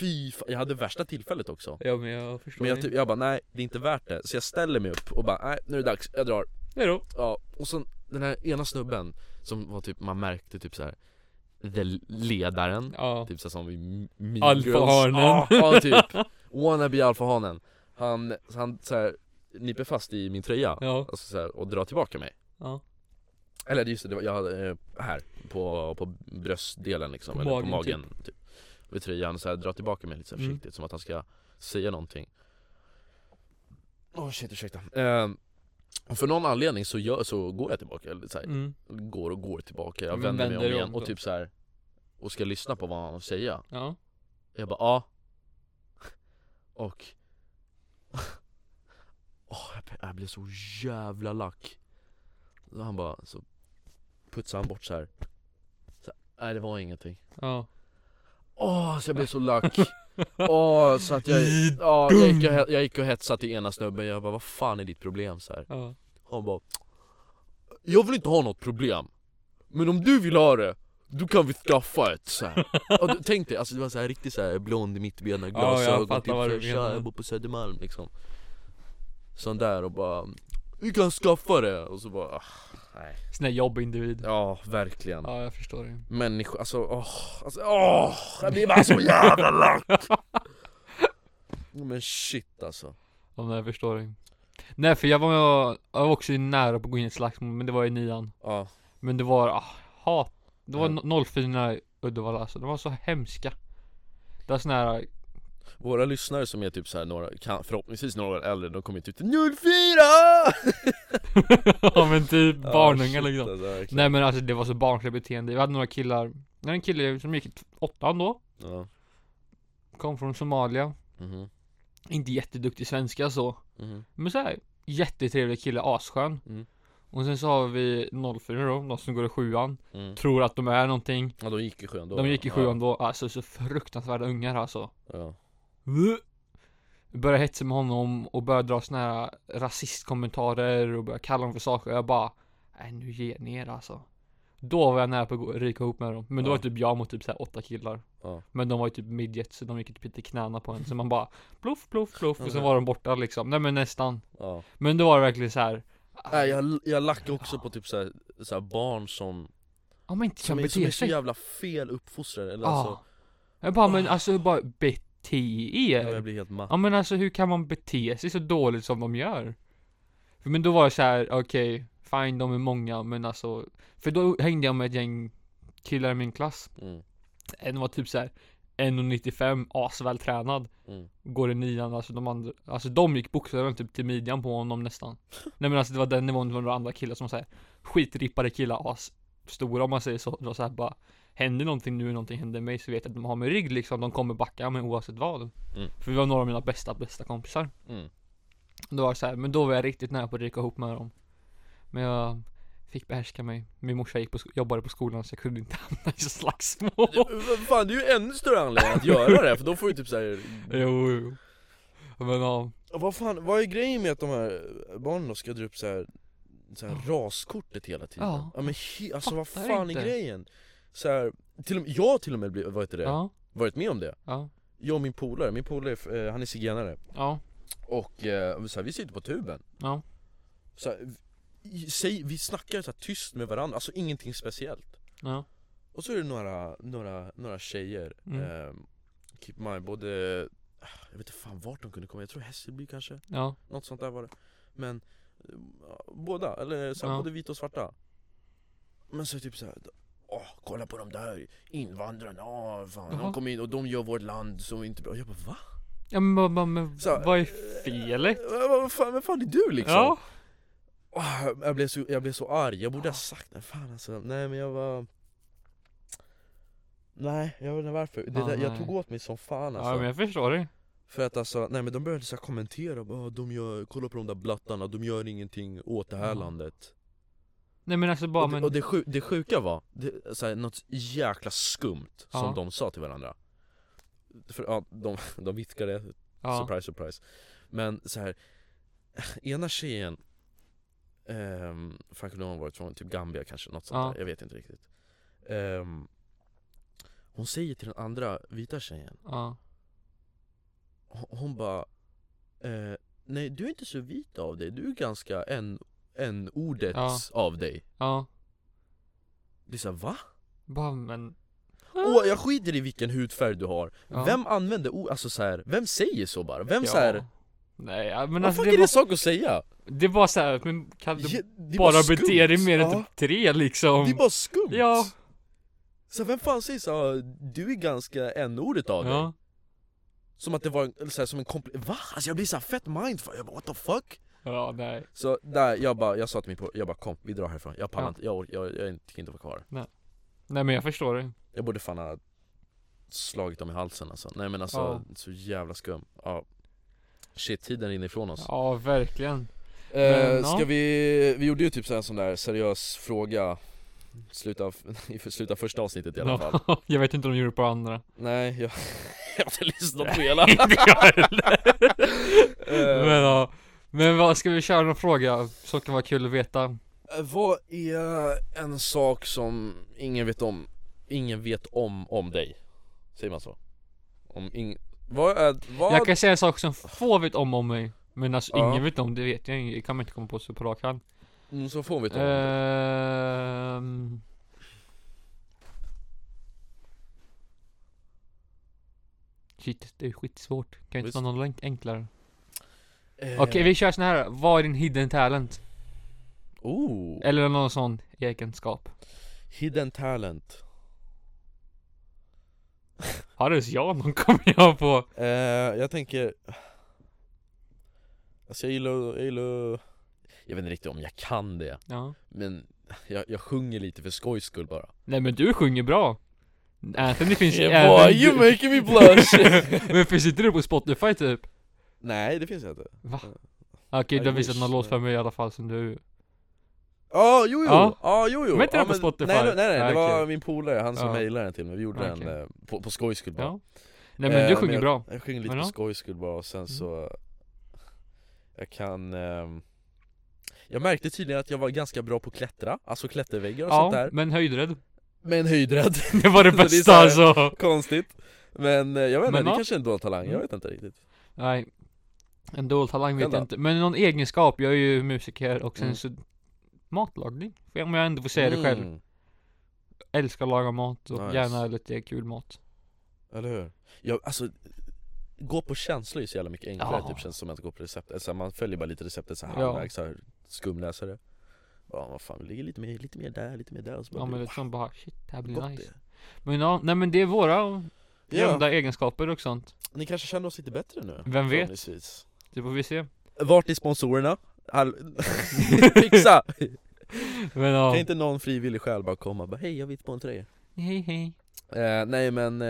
S1: Fy fan, jag hade värsta tillfället också
S2: ja men jag förstår
S1: Men jag,
S2: dig.
S1: typ, jag bara nej, det är inte värt det Så jag ställer mig upp och bara nej, nu är det dags, jag drar
S2: Hej då.
S1: Ja, och sen den här ena snubben Som var typ, man märkte typ så här. The ledaren
S2: Ja,
S1: Typ så här som i Mean Girls.
S2: Alfahanen.
S1: Ja, ja, typ Wannabe alfahanen Han, han så här, nyper fast i min tröja
S2: ja,
S1: alltså, så här, och drar tillbaka mig
S2: ja,
S1: Eller just det, det var, jag hade eh, här på, på bröstdelen liksom,
S2: På
S1: eller på
S2: magen,
S1: magen typ. Vid tröjan och så här, drar tillbaka mig lite så här
S2: Mm.
S1: försiktigt som att han ska säga någonting Åh shit, ursäkta eh, och för någon anledning så, gör, så går jag tillbaka, eller så här,
S2: mm,
S1: går och går tillbaka, jag
S2: Men
S1: vänder, mig
S2: vänder
S1: om
S2: du
S1: igen
S2: om
S1: och
S2: då?
S1: typ så här Och ska lyssna på vad han har att säga
S2: ja
S1: Jag bara ja Och Åh, jag, jag blev så jävla lack Så han bara, så putsade han bort så här. Så, här, Nej det var ingenting
S2: Ja,
S1: Åh, så jag blev så lack Åh, så att jag, ja, jag, gick och, he- jag gick och hetsade till ena snubben Jag bara, vad fan är ditt problem? Så här.
S2: ja,
S1: Han bara Jag vill inte ha något problem Men om du vill ha det då kan vi skaffa ett så här. Och du, Tänk dig, alltså det var så här riktigt så här blond i mittbena, glasögon,
S2: fattar vad du
S1: typ fräscha,
S2: menar.
S1: jag bor på Södermalm liksom Sån där och bara Vi kan skaffa det! Och så bara ah, Nej
S2: sån där jobbindivid
S1: Ja, verkligen
S2: Ja, jag förstår dig
S1: Människor, alltså åh, alltså åh! Jag blir bara så jävla lack! Men shit alltså
S2: Ja, nej, jag förstår dig Nej, för jag var, jag var också nära på att gå in i ett slagsmål, men det var i nian
S1: Ja,
S2: Men det var, ah, hat Det var
S1: Ja.
S2: no- 04 i Uddevalla alltså, de var så hemska Det var sån här,
S1: våra lyssnare som är typ så här några, kan, förhoppningsvis några år äldre, de kommer ju typ till 04!
S2: ja men typ barnungar
S1: shit,
S2: liksom
S1: alltså, verkligen.
S2: Nej men alltså det var så barnsligt beteende, vi hade några killar Jag hade en kille som gick i t- åttan då,
S1: Ja.
S2: kom från Somalia
S1: Mhm.
S2: Inte jätteduktig svenska så
S1: Mhm.
S2: Men såhär, jättetrevlig kille, asskön
S1: Mm.
S2: Och sen så har vi 04 då, de som går i sjuan
S1: Mm.
S2: Tror att de är någonting
S1: Ja de gick i sjuan då
S2: De gick i
S1: ja.
S2: sjuan då, alltså så fruktansvärda ungar alltså
S1: ja.
S2: Började hetsa med honom och började dra såna här rasistkommentarer och började kalla honom för saker och jag bara Nej nu ger ni er alltså Då var jag nära på att gå- ryka ihop med dem, men då
S1: Ja.
S2: var det typ jag mot typ så här åtta killar
S1: Ja.
S2: Men de var ju typ midgets så de gick ju typ lite i knäna på en så man bara Pluff, pluff, pluff och
S1: Ja.
S2: sen var de borta liksom, nej men nästan
S1: ja.
S2: Men då var det verkligen så här. "Ah,
S1: Nej jag, jag lackar också på typ såhär, såhär barn som
S2: Ja men inte kan
S1: som är, som är
S2: bete
S1: så
S2: sig Ah,
S1: jävla fel uppfostrade eller
S2: Ja
S1: alltså, Ah.
S2: Jag bara men alltså bara bete
S1: ja,
S2: er
S1: Jag blir helt matt
S2: Ja men alltså hur kan man bete sig så dåligt som de gör? För, men då var jag så här, okej, fine de är många men alltså För då hängde jag med ett gäng killar i min klass
S1: mm.
S2: En var typ så här 1,95, asvältränad
S1: Mm.
S2: Går i nian, alltså de andra, alltså de gick bokstavligen typ till midjan på honom nästan Nej men alltså det var den nivån, det var några andra killar som var såhär Skitrippade killar, as stora om man säger så, de var såhär bara Händer någonting nu, någonting händer mig så vet jag att de har mig i rygg liksom, de kommer backa mig oavsett vad
S1: Mm.
S2: För vi var några av mina bästa, bästa kompisar
S1: Mm.
S2: Då var det såhär, men då var jag riktigt nära på att ryka ihop med dem Men jag fick behärska mig Min morsa gick på, sk- jobbade på skolan så jag kunde inte hamna i slagsmål
S1: Du, Fan det är ju ännu större anledning att göra det för då får ju typ såhär
S2: Jo, jo. Men ja,
S1: Vad fan, vad är grejen med att de här barnen då ska dra upp såhär så här raskortet hela tiden?
S2: Ja.
S1: men he, alltså vad
S2: Fattar
S1: fan
S2: inte.
S1: är grejen? Så här, till och med, jag har till och med blivit, vad heter det?
S2: ja,
S1: varit med om det
S2: ja,
S1: Jag och min polare, min polare eh, han är zigenare
S2: ja,
S1: Och eh, så här, vi sitter på tuben
S2: ja,
S1: så här, vi, säg, vi snackar så här, tyst med varandra, alltså ingenting speciellt
S2: ja,
S1: Och så är det några, några, några tjejer
S2: Mm.
S1: eh, Keep my, både Jag vet inte fan vart de kunde komma, jag tror Hässelby kanske
S2: ja,
S1: Något sånt där var det Men eh, Båda, eller så här,
S2: Ja.
S1: både vita och svarta Men så typ så här. Åh, kolla på de där invandrarna, åh, fan,
S2: Jaha.
S1: de kom in och de gör vårt land så inte bra Jag bara va?
S2: ja men, vad- vad- men
S1: Så-
S2: vad är felet?
S1: Eh, Vad vad fan, vem fan är du liksom?
S2: Ja,
S1: Åh, jag, blev så, jag blev så arg, jag borde ha sagt det, fan alltså, nej men jag var Nej, jag vet inte varför, det
S2: Ja,
S1: där, jag
S2: nej.
S1: tog åt mig som fan alltså
S2: ja men jag förstår dig
S1: För att alltså, nej men de började så här kommentera, bara, "Ah, de gör, kolla på de där blattarna, de gör ingenting åt det här
S2: Ja.
S1: landet
S2: Nej men alltså bara
S1: Och, det,
S2: men,
S1: och det, sju, det sjuka var, det, så här, något jäkla skumt
S2: Ja.
S1: som de sa till varandra För ja, de, de viskade
S2: ja,
S1: Surprise surprise Men så här Ena tjejen Ehm, fan kunde hon ha varit från typ Gambia kanske, något sånt
S2: Ja.
S1: där, jag vet inte riktigt Ehm, Hon säger till den andra vita tjejen,
S2: Ja.
S1: hon, hon bara eh, Nej du är inte så vit av dig, du är ganska en, en ordet
S2: Ja.
S1: av dig
S2: Ja.
S1: Det är såhär va?
S2: Bara men.
S1: Åh jag skiter i vilken hudfärg du har,
S2: Ja.
S1: vem använder ord, alltså så här, vem säger så bara? Vem
S2: Ja.
S1: så här,
S2: Nej ja, men
S1: vad
S2: alltså
S1: fan
S2: det
S1: är
S2: var,
S1: det sak att säga?
S2: det var så här, men kan du
S1: Ja, det är
S2: bara
S1: skumt.
S2: bete dig mer än
S1: Ja.
S2: typ tre liksom?
S1: Det är bara skumt!
S2: Ja.
S1: Så vem fan säger så "Ah, du är ganska n-ordet av dig?
S2: ja.
S1: Som att det var en, eller så här, som en kompli... Va? Alltså jag blir såhär fett mindfuck, jag bara what the fuck?
S2: Ja, nej.
S1: Så där, jag bara, jag sa till min polare, jag bara kom vi drar härifrån, jag pallar
S2: Ja.
S1: inte, jag, orkar- jag, jag, jag tycker inte vara kvar
S2: Nej men jag förstår det.
S1: Jag borde fan ha slagit dem i halsen alltså, nej men alltså
S2: Ja.
S1: så jävla skum, ja Shit, tiden rinner ifrån oss
S2: Ja, verkligen.
S1: Eh,
S2: Men,
S1: ska
S2: ja.
S1: vi, vi gjorde ju typ så här en sån där seriös fråga Sluta, av- i slutet av första avsnittet i alla fall
S2: Ja, jag vet inte om de gjorde det på andra.
S1: Nej, jag, jag har inte lyssnat på hela
S2: inte jag heller.
S1: Eh,
S2: men ja. Men vad, ska vi köra någon fråga som kan vara kul att veta?
S1: Eh, Vad är en sak som ingen vet om, ingen vet om, om dig? Säger man så? Om ing... Vad är, vad...
S2: Jag kan säga saker som få vet om om mig. Men alltså
S1: Ja.
S2: ingen vet om det vet jag inte. Jag kan inte komma på så på rak hand.
S1: Mm, så får vi ta
S2: Eh,
S1: om.
S2: Ehm. Shit, det är skitsvårt. Kan jag
S1: Visst.
S2: inte ta någon enk- enklare?
S1: Eh,
S2: Okej, vi kör sån här. Vad är din hidden talent?
S1: Oh!
S2: Eller någon sån egenskap.
S1: Hidden talent
S2: Har du ens jag någon kommer jag på?
S1: eh, Jag tänker... Alltså jag gillar, jag gillar... Jag vet inte riktigt om jag kan det,
S2: Ja.
S1: men jag, jag sjunger lite för skojs skull bara
S2: Nej men du sjunger bra. Anthony finns
S1: Yeah boy,
S2: även
S1: you
S2: du-
S1: making me blush!
S2: Men finns inte du på Spotify typ?
S1: Nej det finns jag inte
S2: Va?
S1: Ja.
S2: Okej, du har
S1: I
S2: visat någon
S1: wish,
S2: låt för
S1: men-
S2: mig i alla fall som du...
S1: Ja, jo jo, ja
S2: Ja.
S1: jo jo
S2: Men inte
S1: ja,
S2: den på Spotify?
S1: Nej nej, nej det
S2: Ah,
S1: var
S2: okej.
S1: min polare, han som
S2: Ja.
S1: mejlade den till mig, vi gjorde
S2: Ah,
S1: den
S2: okej.
S1: eh, på, på skojs skull bara
S2: Ja. Nej men
S1: Eh,
S2: du sjunger
S1: jag,
S2: bra.
S1: Jag sjunger lite
S2: Men
S1: på
S2: ja. Mm.
S1: skojs skull bara och sen så Jag kan ehm, Jag märkte tydligen att jag var ganska bra på att klättra, alltså klätterväggar och sånt
S2: Ja,
S1: där
S2: men höjdrädd.
S1: Men höjdrädd,
S2: Det var det
S1: Så det är
S2: bästa
S1: så här-
S2: alltså.
S1: konstigt Men eh, jag vet inte,
S2: Men
S1: det
S2: ja.
S1: kanske är en dold talang, jag
S2: Mm.
S1: vet inte riktigt
S2: Nej. En dold talang vet
S1: Vänta.
S2: jag inte. Men någon egenskap. Jag är ju musiker och sen
S1: Mm.
S2: så... Matlagning. För Om jag ändå får säga det själv.
S1: Mm,
S2: Älskar att laga mat och
S1: Nice.
S2: gärna lite kul mat.
S1: Eller hur? Jag, alltså Gå på känslor är så jävla mycket enklare
S2: Ja.
S1: typ känns som att gå på recept, alltså, man följer bara lite receptet såhär
S2: Ja.
S1: halvvägs, så här, skumläsare Ja vad fan, vi ligger lite mer, lite mer där, lite mer där och så bara
S2: Ja men
S1: blir
S2: lite som bara shit, det
S1: det
S2: här blir
S1: gott
S2: nice.
S1: det.
S2: Men ja, nej men det är våra
S1: Ja,
S2: grunda egenskaper och sånt.
S1: ni kanske känner oss lite bättre nu?
S2: Vem vet?
S1: förhoppningsvis.
S2: Det får vi se.
S1: Vart är sponsorerna? All... Fixa!
S2: Men ja.
S1: Kan inte någon frivillig själv bara komma och bara hej jag vill sponsra er?
S2: Hej hej.
S1: Eh, nej men, eh,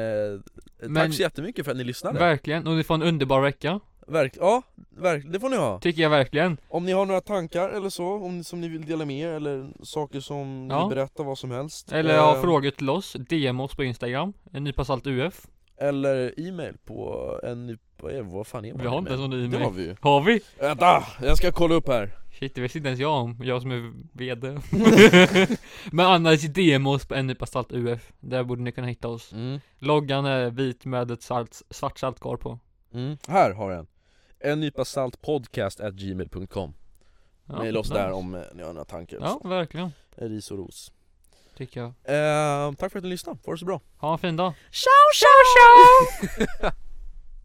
S2: Men-
S1: tack så jättemycket för att ni lyssnade!
S2: Verkligen, och ni får en underbar vecka.
S1: Verk- ja, verk- det får ni ha!
S2: Tycker jag verkligen.
S1: Om ni har några tankar eller så, om, som ni vill dela med er eller saker som ni
S2: Ja.
S1: vill berätta, vad som helst
S2: Eller ha
S1: Eh,
S2: frågor till oss, DM oss på Instagram. En nypa salt UF.
S1: Eller e-mail på en, vad, är, vad fan är vår
S2: Vi har inte ens
S1: e-mail?
S2: någon
S1: Det har
S2: e-mail.
S1: vi ju
S2: Har vi?
S1: Vänta, jag ska kolla upp här
S2: Shit, det visste inte ens jag om. Jag som är VD. Men annars DM oss på en nypa salt UF. Där borde ni kunna hitta oss.
S1: mm.
S2: Loggan är vit med ett salt, svart saltkar på.
S1: Mm. Här har jag en En nypa salt podcast at gmail.com
S2: Ja,
S1: Mejla oss
S2: nice.
S1: där om eh, ni har några tankar eller
S2: Ja, verkligen.
S1: så. Ris och ros
S2: Tycker jag.
S1: eh, Tack för att ni lyssnade, ha det så bra
S2: Ha en fin dag.
S1: Ciao ciao ciao!